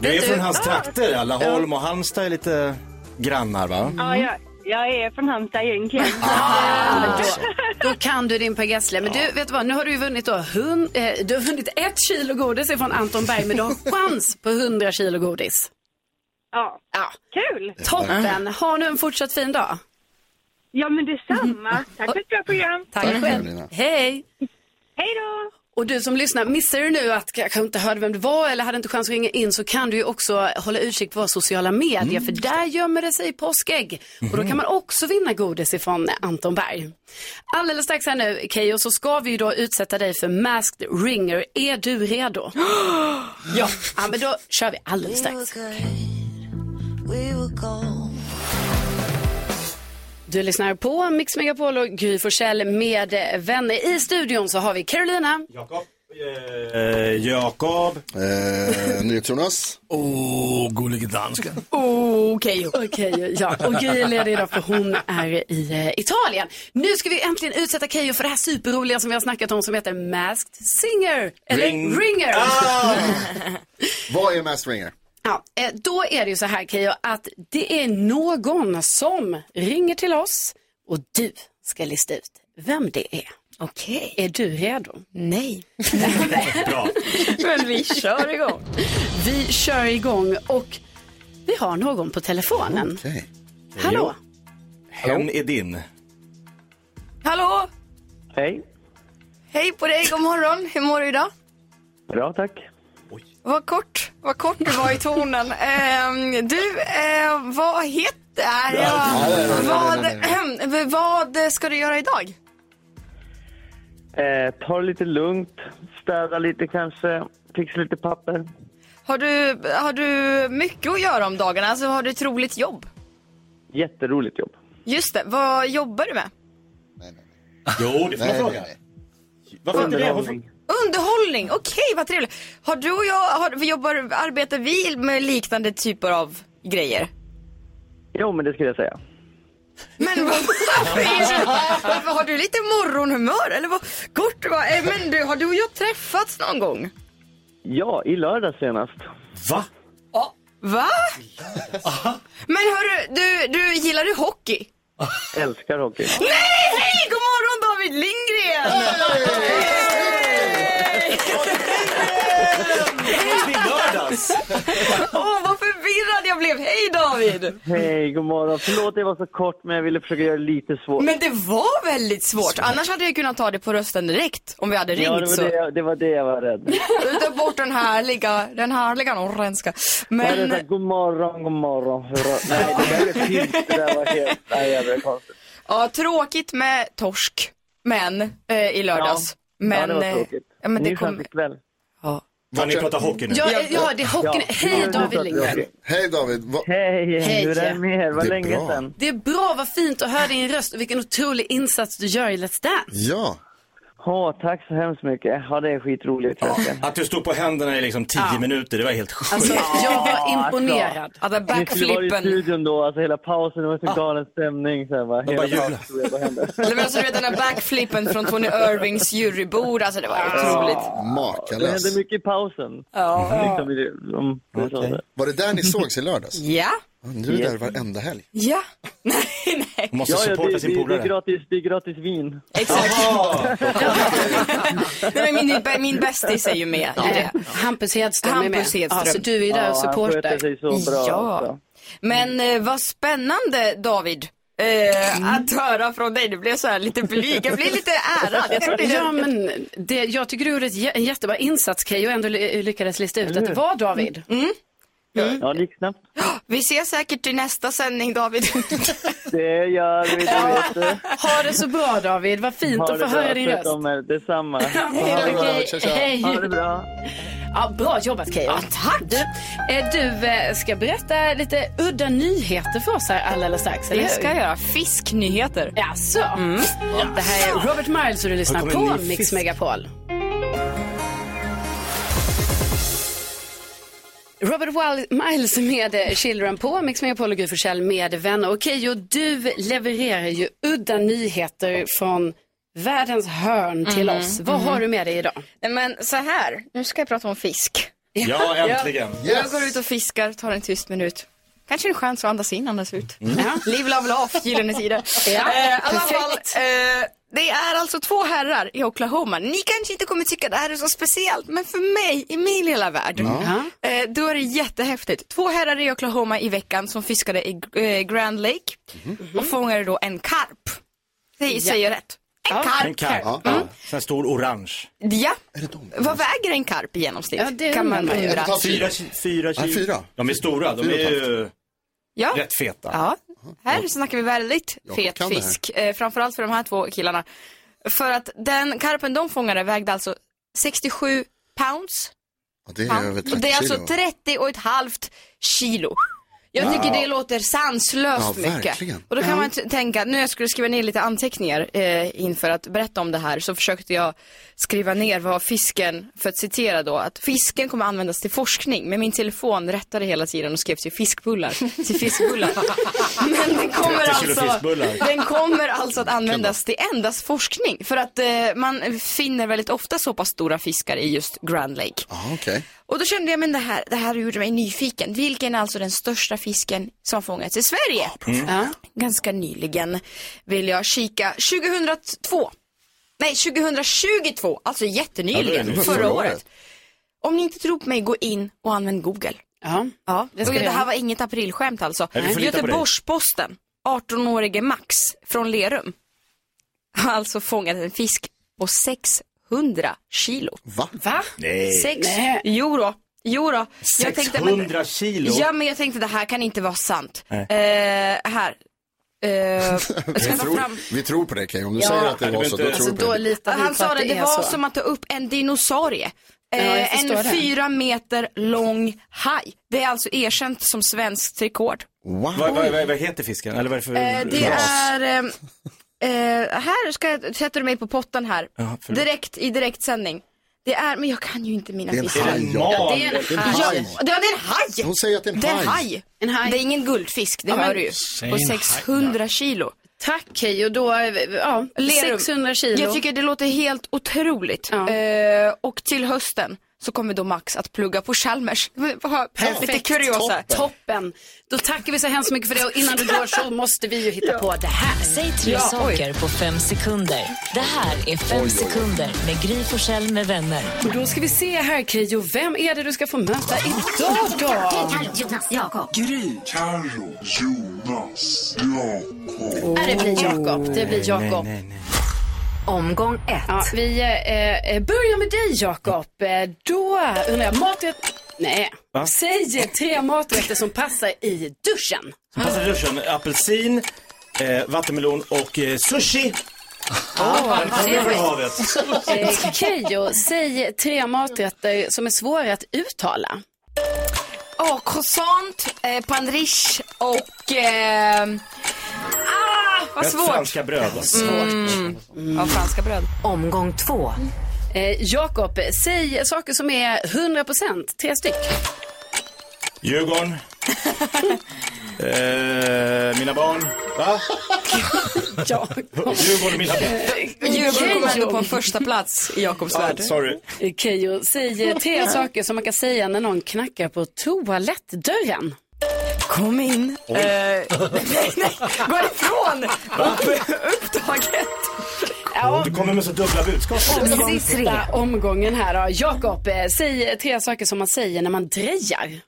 Du är Vet från hans Ah. trakter, alla Holm och Halmstad är lite grannar va? Ja, jag, jag är från Halmstad egentligen. Ja, men Då, då kan du din Per Gessle. Men du, vet du vad? Nu har du ju vunnit då. Hun, eh, du har vunnit ett kilo godis ifrån Anton Berg, men du har chans på 100 kilo godis. Ja. Kul! Toppen! Ha nu en fortsatt fin dag. Mm. Ja, men detsamma. Tack för ett bra program. Tack själv. Hej! Hej då! Och du som lyssnar, missar du nu att kanske inte hörde vem det var eller hade inte chans att ringa in så kan du ju också hålla utkik på våra sociala medier för där gömmer det sig påskägg. Och då kan man också vinna godis ifrån Anton Berg. Alldeles strax här nu Keyyo så ska vi ju då utsätta dig för Masked Ringer. Är du redo? ja! Ja men då kör vi alldeles strax. Du lyssnar på Mix Megapol och Gry Forssell med eh, vänner. I studion så har vi Carolina. Eh, Jakob. Eh, Nyhets-Jonas. Åh, gullige dansken. Okej. Okej, ja. Och Gry är ledig idag för hon är i eh, Italien. Nu ska vi äntligen utsätta Keyyo för det här superroliga som vi har snackat om som heter Masked Singer. Eller Ring- Ah! Ringer. Vad är Masked Ringer? Ja, eh, då är det ju så här Keyyo att det är någon som ringer till oss och du ska lista ut vem det är. Okej. Är du redo? Nej. Bra. Men vi kör igång. Vi kör igång och vi har någon på telefonen. Okej. Hallå? Hen är din. Hallå! Hej. Hej på dig, god morgon. Hur mår du idag? Bra, tack. Vad kort, vad kort du var i tonen. Ehm, du, eh, vad heter Ja, nej, nej, nej, jag? Vad, nej, vad ska du göra idag? Eh, ta det lite lugnt, städa lite kanske, fixa lite papper. Har du, har du mycket att göra om dagarna? Alltså, har du ett roligt jobb? Jätteroligt jobb. Just det, vad jobbar du med? Jo, det får man Nej, fråga. nej, Varför inte det? Varför- Underhållning. Underhållning, okej vad trevligt. Har du och jag, har, jobbar, arbetar vi med liknande typer av grejer? Jo, men det skulle jag säga. Men vad- varför, är du, varför har du lite morgonhumör eller vad kort du var? Eh, Men du, har du och jag träffats någon gång? Ja, i lördag senast. Va? Va? Men hörru, du, du gillar du hockey? Älskar hockey. Nej, hej! God morgon David Lindgren! Det är lördags. Åh, vad förvirrad jag blev. Hej David! Hej, god morgon. Förlåt det var så kort, men jag ville försöka göra det lite svårt. Men det var väldigt svårt. Annars hade jag kunnat ta det på rösten direkt om vi hade ringt ja, det var, så. Det, jag- det var det jag var rädd. Du tar bort den härliga, den härliga norrländska. Jag hade Men sagt, god morgon, god morgon. Hurra. Nej, det där är fint. Det där var helt... Nej, jag blev konstigt. ja, tråkigt med torsk. Men, eh, i lördags. Ja, Men, det var eh, tråkigt. ja, men det Ny kom... chans ikväll. Vad ni pratar hockey nu. Ja, eh, ja, det är hockeyn. Ja. Hej Ja. David Lindgren. Hej David. Va... Hej, Hej. hur är det med er? Vad länge bra. sedan. Det är bra, vad fint att höra din röst och vilken otrolig insats du gör i Let's Dance. Ja. Åh, tack så hemskt mycket. Ja, det är skitroligt. Ja. Att du stod på händerna i liksom tio minuter, det var helt sjukt. Alltså, jag var imponerad. Ja, den Ni skulle vara i backflippen. studion då, alltså hela pausen, det var Ah. så galen stämning. Så här, va? Hela bara jublar. pausen, så jag bara hände. Eller men alltså du vet den här backflippen från Tony Irvings jurybord, alltså det var otroligt. Det hände Makalöst. mycket i pausen. Ja. Ah. Liksom, i det- om, Mm. okay. Var det där ni sågs i lördags? Ja. Du är där varenda helg. Ja. Hon måste ja, supporta det, sin det- Det polare. är, gratis, det är gratis vin. Exakt. Nej, men min, min bästis är ju med i det. Hampus Hedström är med. Hampus Hedström. Ja, så du är där och Ja, han supportar. sköter sig så bra. Ja. alltså. Men eh, vad spännande David. Eh, Att höra från dig, det blev så här lite blyg. Jag blev lite ärad. Jag trodde Ja, det... men det, jag tycker du gjorde ett, jä- en jättebra insats Keyyo och ändå ly- lyckades lista ut att det var David. Mm. Ja, det gick snabbt. Vi ses säkert i nästa sändning David. Det gör vi, det vet du. Ha det så bra David, vad fint Ha att få det höra bra, din sköt röst. om er. Detsamma. Okej, Tja, tja. hej. Ha det bra. Ja, bra jobbat Keyyo. tack. Du, eh, du eh, ska berätta lite udda nyheter för oss här alldeles strax, eller Det hur? ska jag göra. Fisknyheter. Jaså? Mm. Det här är Robert Miles och du lyssnar Här kommer en på ny Mix fisk. Megapol. Robert Wall- Miles med eh, Children på Mix Megapol och Gry Forssell med vänner. Okej, och du levererar ju udda nyheter från världens hörn till Mm. oss. Vad har du med dig idag? Nej, men så här, nu ska jag prata om fisk. Ja, äntligen. Jag går ut och fiskar, tar en tyst minut. Kanske en chans att andas in, andas ut. Live, love, laugh, gyllene tider. Mm. Ja, eh, i alla fall, perfekt. eh, det är alltså två herrar i Oklahoma. Ni kanske inte kommer tycka det här är så speciellt, men för mig, i min lilla värld, eh, då är det jättehäftigt. Två herrar i Oklahoma i veckan som fiskade i eh, Grand Lake Mhm. och fångade då en karp. Säger, säger jag rätt? En karp. En karp. Ja. Sån här stor orange. Ja. Vad väger en karp i genomsnitt? Ja, det kan man undrar man ju. undra. Fyra, ki- fyra Ja, kilo. fyra. De är stora, de Fyra och är ett ju Ja. rätt feta. Ja, här snackar vi väldigt Jag fet kan det här. fisk. Eh, framförallt för de här två killarna. För att den karpen de fångade vägde alltså 67 pounds. Ja, det är pound. över och 30 det är alltså kilo. 30 och ett halvt kilo. Jag tycker det låter sanslöst Ja, mycket. verkligen. Och då kan man t- tänka, nu jag skulle skriva ner lite anteckningar eh, inför att berätta om det här så försökte jag skriva ner vad fisken, för att citera då, att fisken kommer användas till forskning. Men min telefon rättade hela tiden och skrev till fiskbullar. Till fiskbullar. Men den kommer, 30 kilo alltså, fiskbullar. den kommer alltså att användas till endast forskning. För att eh, man finner väldigt ofta så pass stora fiskar i just Grand Lake. Ja, okej. Och Och då kände jag, men det här, det här gjorde mig nyfiken. Vilken är alltså den största fisken som fångats i Sverige? Mm. Ja. Ganska nyligen vill jag kika 2002. Nej, 2022, alltså Ja, jättenyligen, det är nytt. förra Förra året. året. Om ni inte tror på mig, gå in och använd Google. Ja, ja. Det, ska jag göra. här var inget aprilskämt alltså. Nej, vi får lita på dig. Göteborgs-Posten, 18-årige Max från Lerum, har alltså fångat en fisk på 600 kilo. Va? Va? Nej. Sex, Nej. jo då. Jo då. Jag tänkte, men- 600 kilo? Ja, men jag tänkte det här kan inte vara sant. Nej. Eh, här. Eh, jag Vi ska ta fram. tror, vi tror på dig Kay, om du Ja. säger att det Ja, det var behöver så, då inte- tror vi alltså, på då dig. litar Han sa det, det var som att... att ta upp en dinosaurie. Ja, jag Eh, en förstår det. fyra meter lång haj. Det är alltså erkänt som svenskt rekord. Vad, vad, vad, vad heter fisken? Eller vad är det för Eh, det ras? är... ehm, eh, här ska jag, sätter du mig på potten här. Ja, förlåt. Direkt, i direktsändning. Det är, men jag kan ju inte mina Det är en fiskar. haj. Ja, det är Det är en en haj. haj. Ja, det är en haj! Hon säger att det är en det är haj. En haj. Det är ingen guldfisk, det Ja, hör men- du ju. Säg På en haj. 600 kilo. Tack Keyyo, då, eh, ja, Lerum. 600 kilo. Jag tycker det låter helt otroligt. Eh, och till hösten så kommer då Max att plugga på Chalmers. Lite kuriosa. Toppen. Toppen. Då tackar vi så hemskt mycket för det och innan du går så måste vi ju hitta på det här. Säg tre saker på fem sekunder. Det här är fem Oj, oj, oj. sekunder med Gry Forssell med vänner. Och då ska vi se här Keyyo, vem är det du ska få möta idag då? Jonas, Jakob. Gry. Carro, Jonas, Jakob. Nej, det blir Jakob. Det blir Jakob. Omgång ett. Ja, vi eh, eh, börjar med dig Jakob. Eh, Då undrar jag, maträtt... Nej. Va? Säg tre maträtter som passar i duschen. Alltså, Som passar i duschen. Apelsin, eh, vattenmelon och eh, sushi. vad Välkommen från trevligt. havet. Eh, Keyyo, säg tre maträtter som är svåra att uttala. Ja, croissant, eh, pandriche och... Eh, ah, vad Ett svårt. franska bröd, va? alltså. Mm. Ja, franska bröd. Omgång två. Eh, Jakob, säg saker som är 100%, tre styck. Djurgården. eh, mina barn. Va? Djurgården, mina barn. Mm. Djurgården kom ändå på en Keyyo. första plats i Jakobs Ah, värld. sorry. Eh, Keyyo, säg eh, tre saker som man kan säga när någon knackar på toalettdörren. Kom in. Eh, nej, nej, gå ifrån! Upptaget. Du kommer med så dubbla budskap. Och sista omgången här då. Jakob, eh, säg tre saker som man säger när man drejar.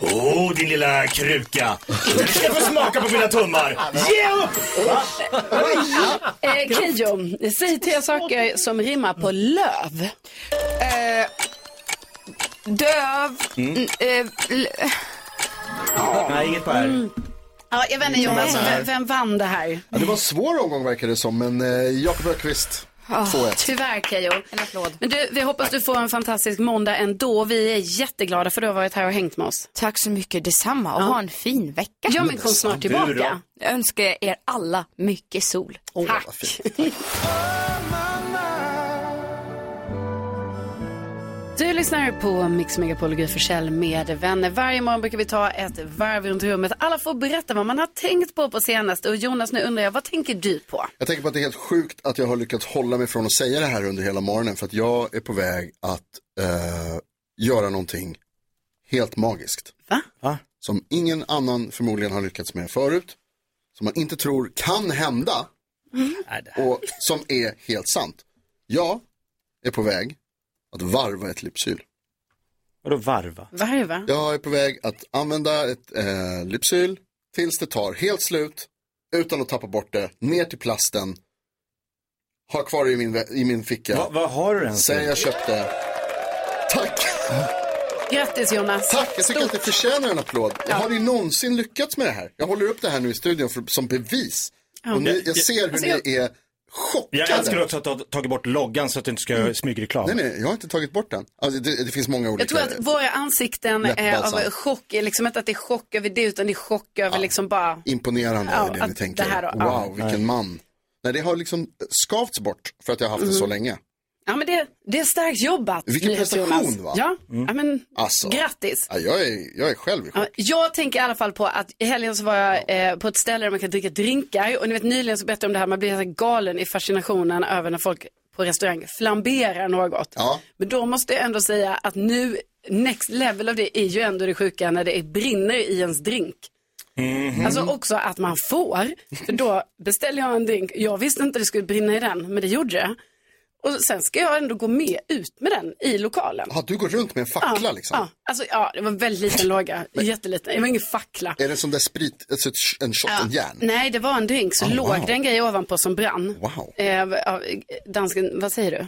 Åh, oh, din lilla kruka. Du ska få smaka på mina tummar. Ge upp! Eh, Keyyo, säg tre saker som rimmar på löv. Eh, döv. Mm. Mm, eh, l- Nej, inget på här. Mm. Ja, jag vet inte Jonas, vem, vem vann det här? Ja, det var en svår omgång verkar det som, men eh, Jakob Öqvist 2-1. tyvärr Keyyo. En applåd. Men du, vi hoppas du får en fantastisk måndag ändå. Vi är jätteglada för att du har varit här och hängt med oss. Tack så mycket detsamma och ha en fin vecka. Ja, men kom snart tillbaka. Jag önskar er alla mycket sol. Tack. Du lyssnar på Mix Megapol och Gry Forssell med vänner. Varje morgon brukar vi ta ett varv runt rummet. Alla får berätta vad man har tänkt på på senaste. Och Jonas, nu undrar jag, vad tänker du på? Jag tänker på att det är helt sjukt att jag har lyckats hålla mig från att säga det här under hela morgonen för att jag är på väg att eh, göra någonting helt magiskt. Va? Som ingen annan förmodligen har lyckats med förut, som man inte tror kan hända och som är helt sant. Jag är på väg att varva ett Lypsyl. Vadå varva? Varva? Jag är på väg att använda ett eh, Lypsyl tills det tar helt slut, utan att tappa bort det, ner till plasten, ha kvar det i min, vä- i min ficka. Va- vad har du ens? Sen jag köpte. Tack! Grattis Jonas. Tack, jag tycker att det förtjänar en applåd. Jag har ni någonsin lyckats med det här? Jag håller upp det här nu i studion för, som bevis. Ja. Och ni, Jag- jag ser hur alltså, ni jag- är chockade. Jag älskar också att du har tagit bort loggan så att du inte ska göra smygreklam. Nej, nej, jag har inte tagit bort den. Alltså, det, det finns många olika. Jag tror att våra ansikten är Läppbalsam. av chock, är liksom inte att det är chock över det, utan det är chock över liksom bara... Imponerande Ja, är det att ni det tänker. här då, wow, ja. vilken man. Nej, det har liksom skavts bort för att jag har haft det så Mm. länge. Ja, men det, det är starkt jobbat. Vilken NyhetsJonas. prestation, va? Ja, ja men Alltså. grattis. Ja, jag, är, jag är själv i chock. Ja, Jag tänker i alla fall på att i helgen så var jag eh, på ett ställe där man kan dricka drinkar och ni vet nyligen så berättade jag om det här, man blir så här galen i fascinationen över när folk på restaurang flambera något. Men då måste jag ändå säga att nu, next level av det är ju ändå det sjuka när det är brinner i ens drink. Alltså också att man får. För då beställer jag en drink. Jag visste inte det skulle brinna i den, men det gjorde det. Och sen ska jag ändå gå med ut med den i lokalen. Har du gått runt med en fackla ja, liksom? Ja, alltså, ja, det var en väldigt liten låga. Jätteliten. Det var ingen fackla. Är det en sån där sprit, alltså ett sh- en shot, en järn? Nej, det var en drink. Så Ah, låg wow. det en grej ovanpå som brann. Wow. Eh, ja, dansken, vad säger du?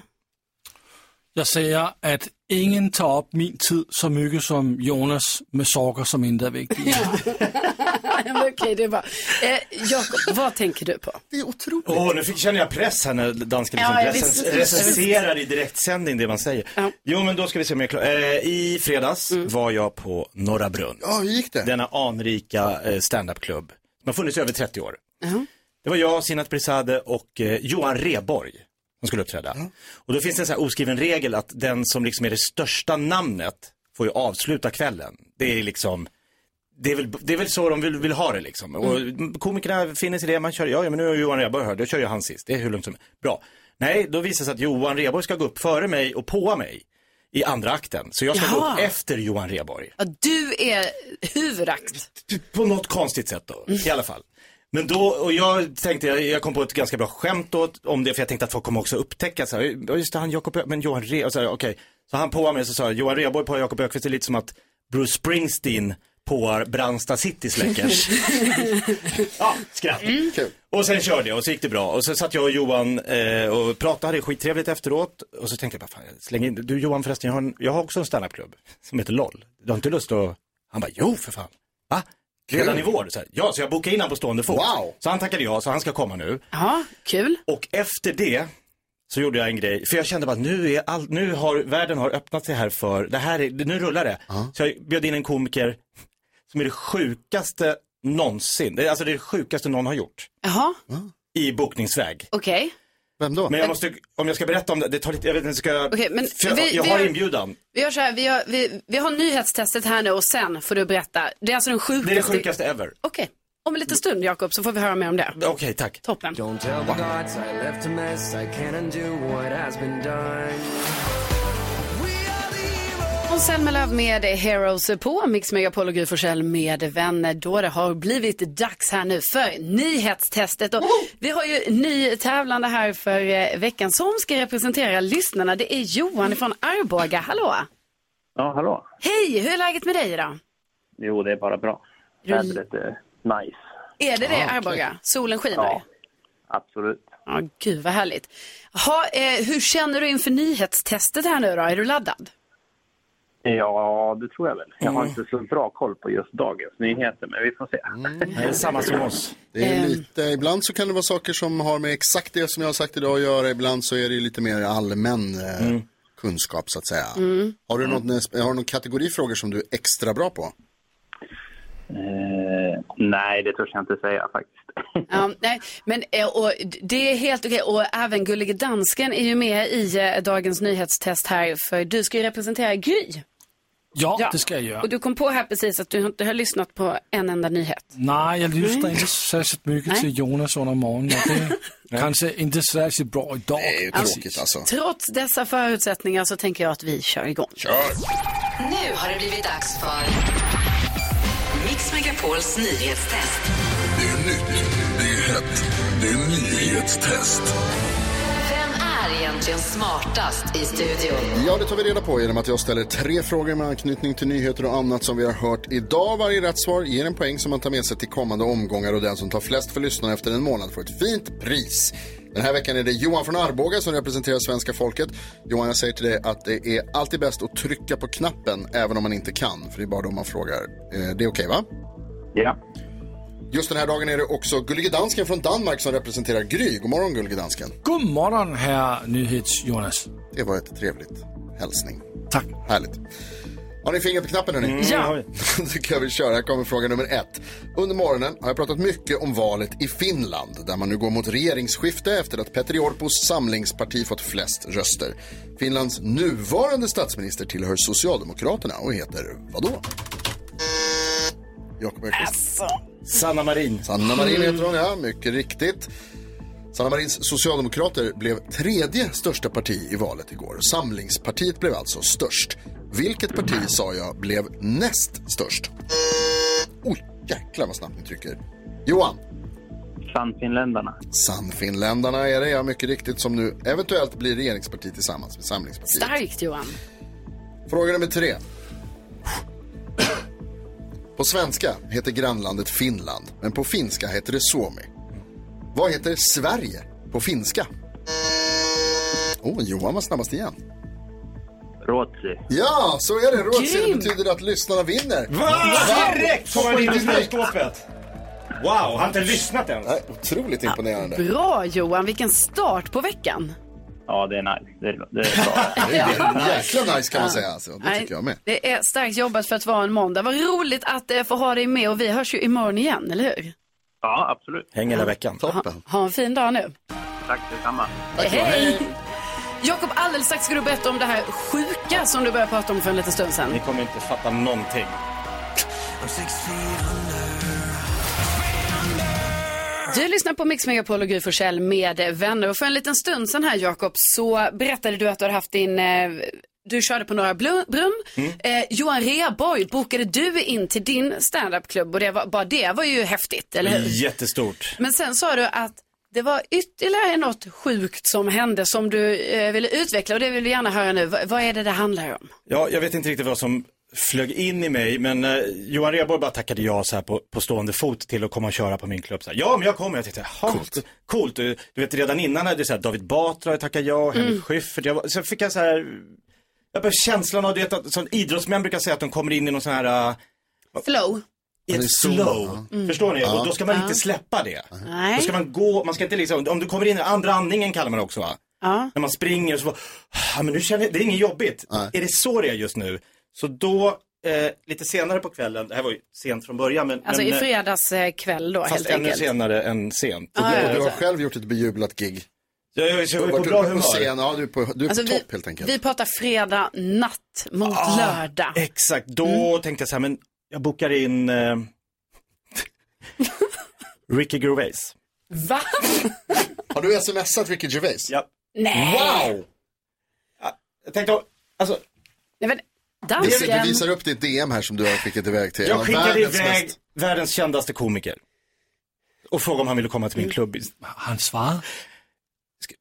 Jag säger att ingen tar upp min tid så mycket som Jonas med saker som inte är viktiga. Men Okej, det är bara. Eh, Jakob, vad tänker du på? Det är otroligt. Åh, nu fick, känner jag press här när dansken liksom Ja, jag recens- visste- recenserar i direktsändning det man säger. Jo, men då ska vi se om jag är klar. Eh, I fredags var jag på Norra Brunn. Ja, hur gick det? Denna anrika eh, standupklubb. som har funnits i över 30 år. Det var jag, Sinat Brisade och eh, Johan Reborg som skulle uppträda. Och då finns det en sån här oskriven regel att den som liksom är det största namnet får ju avsluta kvällen. Det är liksom, det är väl, det är väl så de vill, vill ha det liksom. Och komikerna finner sig i det, man kör, ja ja, men nu är Johan Reborg här, då kör jag han sist, det är hur lugnt som Bra. Nej, då visar det sig att Johan Reborg ska gå upp före mig och påa mig i andra akten. Så jag ska gå Jaha. upp efter Johan Reborg. Ja, du är huvudakt. På något konstigt sätt då, i alla fall. Men då, och jag tänkte, jag, jag kom på ett ganska bra skämt då, om det, för jag tänkte att folk kommer också upptäcka så här, "Ja, just det, han Jakob, Ö- men Johan Re, och så här, okej. Så han påade mig så sa jag, Johan Rheborg på Jakob Ökvist är lite som att Bruce Springsteen påar Brandsta City Släckers. ja, skratt. Och sen körde jag och så gick det bra. Och så satt jag och Johan eh, och pratade, hade skittrevligt efteråt. Och så tänkte jag, bara, fan, jag slänger in, du Johan förresten, jag har, en, jag har också en standupklubb som heter LOL. Du har inte lust att, han bara, jo för fan. Va? Redan i vår? Så här, ja, så jag bokade in honom på stående fot. Wow. Så han tackade ja, så han ska komma nu. Ja, kul. Och efter det så gjorde jag en grej, för jag kände bara att nu, är all, nu har världen har öppnat sig här för, det här är, nu rullar det. Så jag bjöd in en komiker som är det sjukaste någonsin, Det är alltså det sjukaste någon har gjort. Jaha, I bokningsväg. okej. Vem då? Men jag måste, om jag ska berätta om det, det tar lite, jag vet inte, ska jag, Okej, men för jag, vi- jag vi har har- inbjudan. Vi gör så här, vi, gör, vi, vi har nyhetstestet här nu och sen får du berätta. Det är alltså den sjukaste. Det är det sjukaste ever. Okej, om en liten stund Jakob så får vi höra mer om det. Okej, tack. Toppen. Don't tell the gods I left a mess. I can't undo what has been done. Måns Zelmerlöw med Heroes på Mix Megapol och Gry Forssell med vänner då det har blivit dags här nu för nyhetstestet. Och vi har ju ny tävlande här för eh, veckan som ska representera lyssnarna. Det är Johan från Arboga. Hallå! Ja, hallå. Hej, hur är läget med dig idag? Jo, det är bara bra. Vädret är nice. Är det det Ja, okej. Arboga? Solen skiner? Ja, absolut. Ja, gud vad härligt. Ha, eh, hur känner du inför nyhetstestet här nu då? Är du laddad? Ja, det tror jag väl. Jag Eh. har inte så bra koll på just dagens nyheter, men vi får se. Mm. Det är samma som oss. Det är lite, Ehm. ibland så kan det vara saker som har med exakt det som jag har sagt idag att göra. Ibland så är det ju lite mer allmän eh, kunskap så att säga. Mm. Har, du något, har du någon kategori frågor som du är extra bra på? Eh, nej, det törs jag inte säga faktiskt. Ja, nej, men eh, och d- det är helt okej. Och även Gullige Dansken är ju med i eh, dagens nyhetstest här. För du ska ju representera Gry. Ja, det ska jag göra. Och du kom på här precis att du inte har lyssnat på en enda nyhet. Nej, jag lyssnar inte särskilt mycket Nej. till Jonas under morgonen. och Det är kanske inte särskilt bra idag. Det är tråkigt alltså. Trots dessa förutsättningar så tänker jag att vi kör igång. Nu har det blivit dags för Mix Megapols nyhetstest. Det är nytt, det är hett, det är nyhetstest. Vem är egentligen smartast i studion? Ja, det tar vi reda på genom att jag ställer tre frågor med anknytning till nyheter och annat som vi har hört idag. Varje rätt svar ger en poäng som man tar med sig till kommande omgångar och den som tar flest för lyssnarna efter en månad får ett fint pris. Den här veckan är det Johan från Arboga som representerar svenska folket. Johan, jag säger till dig att det är alltid bäst att trycka på knappen även om man inte kan, för det är bara då man frågar. Eh, Det är okej, va? Ja. Just den här dagen är det också Gullige Dansken från Danmark som representerar Gry. God morgon, Gullige Dansken. God morgon, herr Nyhets-Jonas. Det var ett trevligt hälsning. Tack. Härligt. Har ni fingret på knappen hörni? Mm, Ja. Då tycker jag vi kör. Här kommer fråga nummer ett. Under morgonen har jag pratat mycket om valet i Finland där man nu går mot regeringsskifte efter att Petteri Orpos samlingsparti fått flest röster. Finlands nuvarande statsminister tillhör Socialdemokraterna och heter vadå? Jakob Öqvist. Sanna Marin. Sanna Marin heter hon, ja. Mycket riktigt. Sanna Marins socialdemokrater blev tredje största parti i valet igår. Samlingspartiet blev alltså störst. Vilket parti, sa jag, blev näst störst? Oj, jäklar vad snabbt ni trycker. Johan? Sannfinländarna. Sannfinländarna är det, ja, mycket riktigt, som nu eventuellt blir regeringsparti tillsammans med Samlingspartiet. Starkt Johan. Fråga nummer tre. På svenska heter grannlandet Finland, men på finska heter det Suomi. Vad heter Sverige på finska? Åh, oh, Johan var snabbast igen. Ruotsi. Ja, så är det. Rådsedeln betyder att lyssnarna vinner. Direkt kommer han in i snöskåpet! Wow, han har inte lyssnat än. Nej, otroligt imponerande. Bra Johan, vilken start på veckan. Ja, det är nice. Det är, det är bra. Det är jäkla nice kan man säga. Alltså. Det Nej, tycker jag med. Det är starkt jobbat för att vara en måndag. Vad roligt att eh, få ha dig med och vi hörs ju imorgon igen, eller hur? Ja, absolut. Häng hela veckan. Toppen. Ha en fin dag nu. Tack detsamma. Hej! Jakob, alldeles strax ska du berätta om det här sjuka som du började prata om för en liten stund sedan. Ni kommer inte fatta någonting. Du lyssnar på Mix Megapol och Gry Forssell med vänner. Och för en liten stund sedan här Jakob så berättade du att du hade haft din, eh, du körde på Norra Blu- Brunn. Mm. Eh, Johan Rheborg bokade du in till din standupklubb och det var, bara det var ju häftigt, eller hur? Jättestort. Men sen sa du att det var ytterligare något sjukt som hände som du eh, ville utveckla och det vill vi gärna höra nu. Va, vad är det det handlar om? Ja, jag vet inte riktigt vad som flög in i mig, men eh, Johan Rheborg bara tackade ja så här på, på stående fot till att komma och köra på min klubb. Så här, ja, men jag kommer. Jag tänkte, jaha, coolt. coolt. Du, du vet, redan innan hade det så här, David Batra tackade ja, Henrik Mm. Schyffert. Jag, var- så fick jag så här, jag bara känslan av, du vet, att, som idrottsmän brukar säga att de kommer in i någon sån här, eh, Flow. i ett slow. Mm. Förstår ni? Ja. Och då ska man Ja. inte släppa det. Nej. Då ska man gå, man ska inte liksom, om du kommer in i andra andningen kallar man det också va? Ja. När man springer så bara, "Ah, men nu känner jag, det är inget jobbigt. Är det så det är just nu? Så då, eh, lite senare på kvällen, det här var ju sent från början men, Alltså men i eh, fredags eh, kväll då fast helt ännu enkelt. senare än sent. Ah, ja, Du har ja. själv gjort ett bejublat gig. Jag, jag, jag Du är har på varit bra uppe humör. Scen. Ja, du är på, du är Alltså, på vi- topp helt enkelt. Vi pratar fredag natt mot Ah, lördag. Exakt, då Mm. tänkte jag så här, men jag bokar in eh, Ricky Gervais. Va? Har du smsat Ricky Gervais? Ja. Nej. Wow! Ja, Jag tänkte, alltså, Nej, men, Du, du dansken. visar upp ditt DM här som du har skickat iväg till en Jag av skickade världens iväg mest- världens kändaste komiker. Och frågade om han ville komma till min klubb. Han svarade.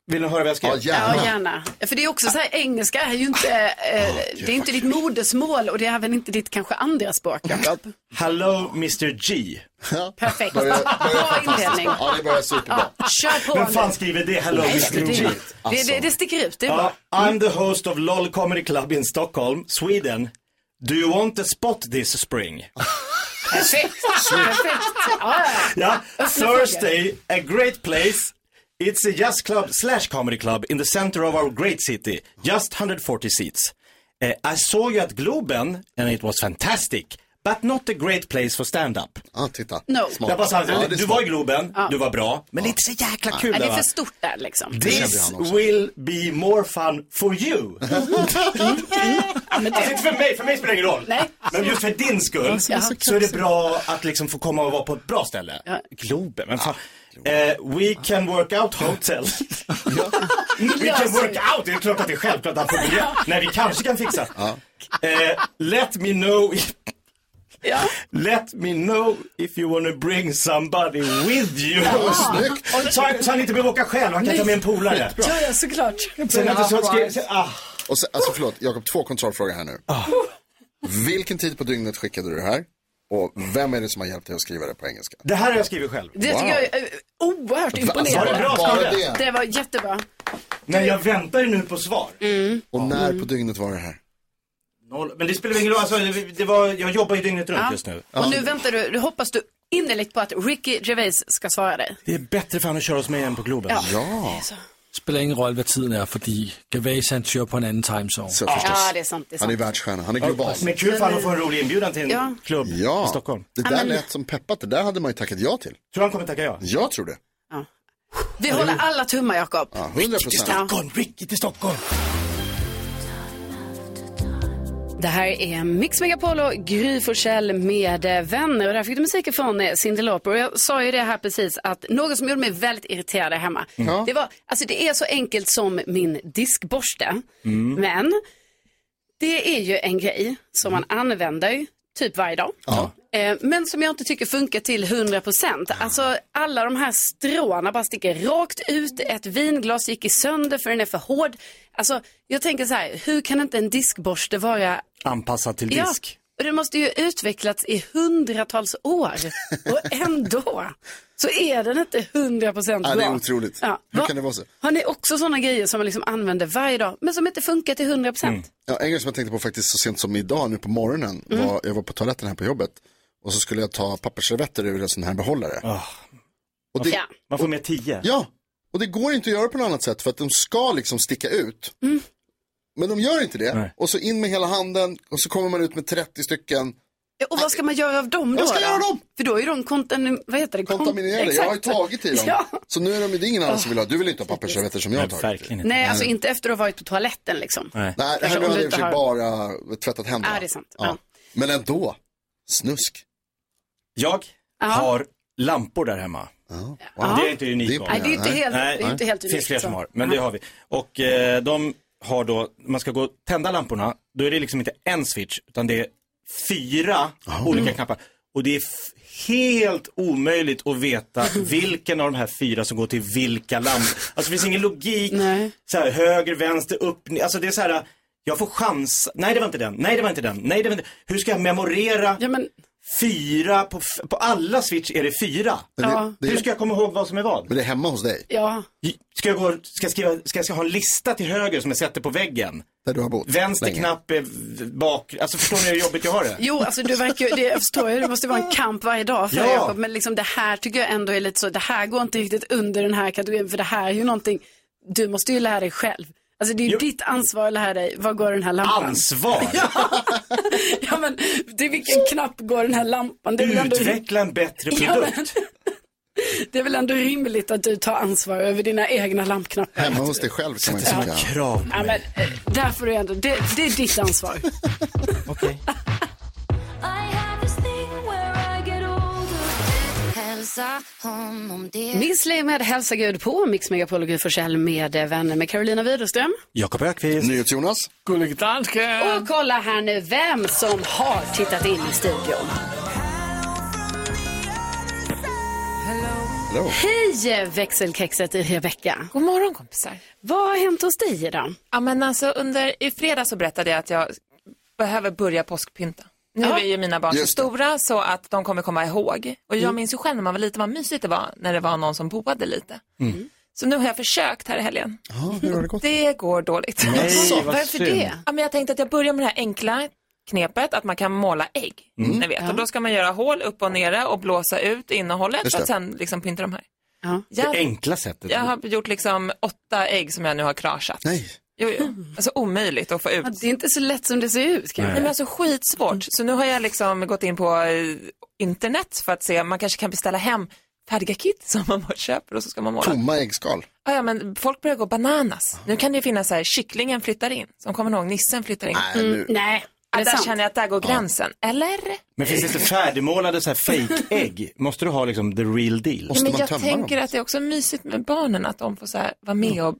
Vill ni höra vad jag skrev? Ja, Ja, gärna. För det är också så här, engelska är ju inte, Ah, eh, det är inte ditt modersmål och det är väl inte ditt kanske andra språk, Jakob. Hello Mr G. Perfekt. Börjar- börjar Bra inledning. Ja, det börjar superbra. Ja, kör på Vem fan nu. skriver det? Hello Nej, Mr det- G. Det, det, det sticker ut, det är Ja, bra. I'm the host of LOL Comedy Club in Stockholm, Sweden. Do you want a spot this spring? Perfekt. Perfekt. Ja, Ja, Öppna Thursday, a great place. It's a jazz club slash comedy club in the center of our great city. Just 140 seats. Eh, I saw you at Globen and it was fantastic. But not a great place for stand-up. Ja, Ah, titta. No. Smart. Jag bara sa, Ja, det är du smart. var i Globen, Ja. du var bra, men det är inte så jäkla Ja. kul. Ja, det va? är för stort där liksom. This will be more fun for you. Alltså inte för mig, för mig spelar det ingen roll. Nej. Men just för din skull Ja. så är det bra att liksom få komma och vara på ett bra ställe. Globen, men fan. Eh, we can work out hotel. we can work out, det är klart att det är självklart att han får biljett. Nej, vi kanske kan fixa. Eh, let me know if... Let me know if you wanna bring somebody with you. Ja. Så, han- så han inte behöver åka själv, han kan ta med en polare. Ja, ja, såklart. Sen att du så skrev, sen, ah, Och sen, alltså förlåt, Jakob, två kontrollfrågor här nu. Vilken tid på dygnet skickade du det här? Och vem är det som har hjälpt dig att skriva det på engelska? det här har jag skrivit själv. Det tycker jag är eh, oerhört imponerande. Var det bra, Bara Skarre? det? Det var jättebra. Men jag väntar ju nu på svar. Och Mm. när på dygnet var det här? Noll. Men det spelar ingen roll, alltså, det, det var, jag jobbar ju dygnet runt Ja. just nu. Och nu väntar du, du hoppas du innerligt på att Ricky Gervais ska svara dig. Det är bättre för han att köra oss med igen på Globen. Ja. Spiller ingen rolle, hvad tiden er, fordi Gervais han kører på en anden time zone. Så Ja, det är sant. Det är sant. världsstjärna, han är global. Men kul för han att få en rolig inbjudan till en Ja. klubb Ja. i Stockholm. Det där Ja, men- lät som peppat, det där hade man ju tackat ja till. Tror han kommer tacka ja? Jag tror det. Vi håller alla tummar, Jakob. Ja, 100 procent. Ricky till Stockholm! Det här är Mix Megapol och Gry Forssell med eh, vänner. Och där fick du musiken från eh, Cyndi Lauper. Och jag sa ju det här precis att något som gjorde mig väldigt irriterad här hemma. Ja. Det, var, alltså det är så enkelt som min diskborste. Men det är ju en grej som man använder typ varje dag. Eh, Men som jag inte tycker funkar till 100%. Alltså alla de här stråna bara sticker rakt ut. Ett vinglas gick i sönder för den är för hård. Alltså jag tänker så här, hur kan inte en diskborste vara... Anpassad till disk. Ja, och det måste ju utvecklats i hundratals år. Och ändå så är den inte 100% bra. Ja, det är otroligt. Ja. Hur Va- kan det vara så? Har ni också sådana grejer som man liksom använder varje dag men som inte funkar till 100%? Ja, en grej som jag tänkte på faktiskt så sent som idag nu på morgonen. Mm. Var, jag var på toaletten här på jobbet och så skulle jag ta pappersservetter ur en sån här behållare. Och Ja. Ah, Man får med tio. Ja, och det går inte att göra på något annat sätt för att de ska liksom sticka ut. Mm. Men de gör inte det. Och så in med hela handen och så kommer man ut med 30 stycken. Och vad ska man göra av dem då? Vad ska jag göra av dem? För då är de kontan... vad heter det? Kont- Kontaminerade, jag har ju Exakt. tagit i dem. Ja. Så nu är de, det är ingen annan som vill ha, du vill inte ha pappersservetter som jag har Nej, tagit. verkligen Nej, alltså inte efter att ha varit på toaletten liksom. Nej, det Kanske här om nu du hade jag i och inte för sig har- bara tvättat händerna. Ja, det är sant. Ja. Men ändå, snusk. Jag Ja. har lampor där hemma. Ja. Det är inte unikt. Nej, det är inte helt- det är inte helt Det unikt, liksom. finns fler som så. har, men det har vi. Och eh, de har då, man ska gå och tända lamporna, då är det liksom inte en switch, utan det är fyra olika knappar. Och det är f- helt omöjligt att veta vilken av de här fyra som går till vilka lampor. Alltså det finns ingen logik. Så här, höger, vänster, upp, ner. Alltså det är så här, jag får chans. Nej, det var inte den. Nej, det var inte den. Nej, det var inte... Hur ska jag memorera fyra på, f- på alla switch är det fyra. Men det- Ja. det- Hur ska jag komma ihåg vad som är vad? Men det är hemma hos dig. Ja. Ska jag, gå, ska jag, skriva, ska jag ska ha en lista till höger som jag sätter på väggen? Där du har bott. Vänster länge. knapp är v- bak. Alltså förstår ni hur jobbigt jag har det? Jo, alltså du verkar ju, det jag förstår jag, det måste vara en kamp varje dag för Ja. dig, Jakob. Men liksom det här tycker jag ändå är lite så, det här går inte riktigt under den här kategorin, för det här är ju någonting, du måste ju lära dig själv. Alltså det är ju ditt ansvar att lära dig, vad går den här lampan? Ansvar? ja. ja, men det är vilken knapp går den här lampan? Det är väl ändå, Utveckla en bättre Ja, men- produkt. det är väl ändå rimligt att du tar ansvar över dina egna lampknappar. Hemma hos dig själv kan man ju Sätter tycka. såna krav. Ja, men, eh, där får du ändå, det, det är ditt ansvar. Hälsa honom det. Miss Li med Hälsa Gud på Mix Megapol och Gud Forssell med eh, vänner med Carolina Widerström. Jakob Ökvist. NyhetsJonas. Gullig dansken. Och kolla här nu vem som har tittat in i studion. Hello. Hej eh, växelkexet i Rebecka. God morgon kompisar. Vad har hänt hos dig idag? Ja, men alltså, under, I fredags så berättade jag att jag behöver börja påskpynta. Nu är ju mina barn så Just det. stora så att de kommer komma ihåg. Och jag Mm. minns ju själv när man var liten vad mysigt det var när det var någon som boade lite. Mm. Så nu har jag försökt här i helgen. hur har det gått? Det går dåligt. Nej, Alltså, vad varför synd. det? Ja, men jag tänkte att jag börjar med det här enkla knepet att man kan måla ägg. Mm. Ni vet. Ja. Och då ska man göra hål upp och nere och blåsa ut innehållet Just för att det. sen liksom pynta de här. Det enkla sättet. Jag har gjort liksom åtta ägg som jag nu har kraschat. Nej. Jo, jo. Alltså omöjligt att få ut. det är inte så lätt som det ser ut. Nej, men alltså skitsvårt. Så nu har jag liksom gått in på eh, internet för att se, man kanske kan beställa hem färdiga kit som man bara köper och så ska man måla. Tomma äggskal. Ja, ja, men folk börjar gå bananas. Nu kan det ju finnas så här, kycklingen flyttar in. Som kommer ni ihåg, nissen flyttar in. Nej, nu- Mm, nej. Ja, det är där sant. känner jag att där går gränsen. Eller? Men finns det inte färdigmålade så här fake ägg Måste du ha liksom the real deal? Ja, men jag tänker att det är också mysigt med barnen att de får så här, vara med och...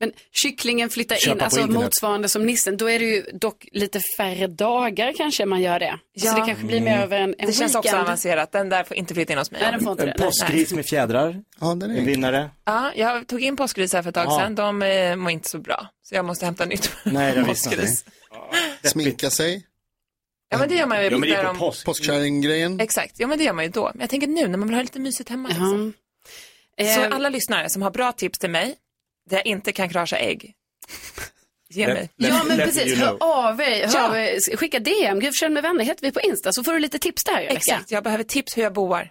Men kycklingen flyttar Köpa in, på alltså internet. motsvarande som nissen, då är det ju dock lite färre dagar kanske man gör det. Så det kanske blir mer över en, en Det känns också weekend. avancerat. Den där får inte flytta in hos mig. Nej, den får inte det. En påskgris med fjädrar. Ja, den är en vinnare. Ja, jag tog in påskgrisar för ett tag Ja. sedan. De eh, mår inte så bra. Så jag måste hämta nytt. Nej, det visste jag påskgris. inte. Sminka sig. Ja, men det gör man ju. där de- Påskkärringgrejen. Exakt, ja men det gör man ju då. Men jag tänker nu när man vill ha lite mysigt hemma. Liksom. Eh, Så alla lyssnare som har bra tips till mig, där jag inte kan krascha ägg, ge Let- mig. let- Ja, men let precis. you know. Hör av er, hör av er. skicka DM, Gud försäljning med vänner heter vi på Insta, så får du lite tips där Rebecka. Exakt, jag behöver tips hur jag boar.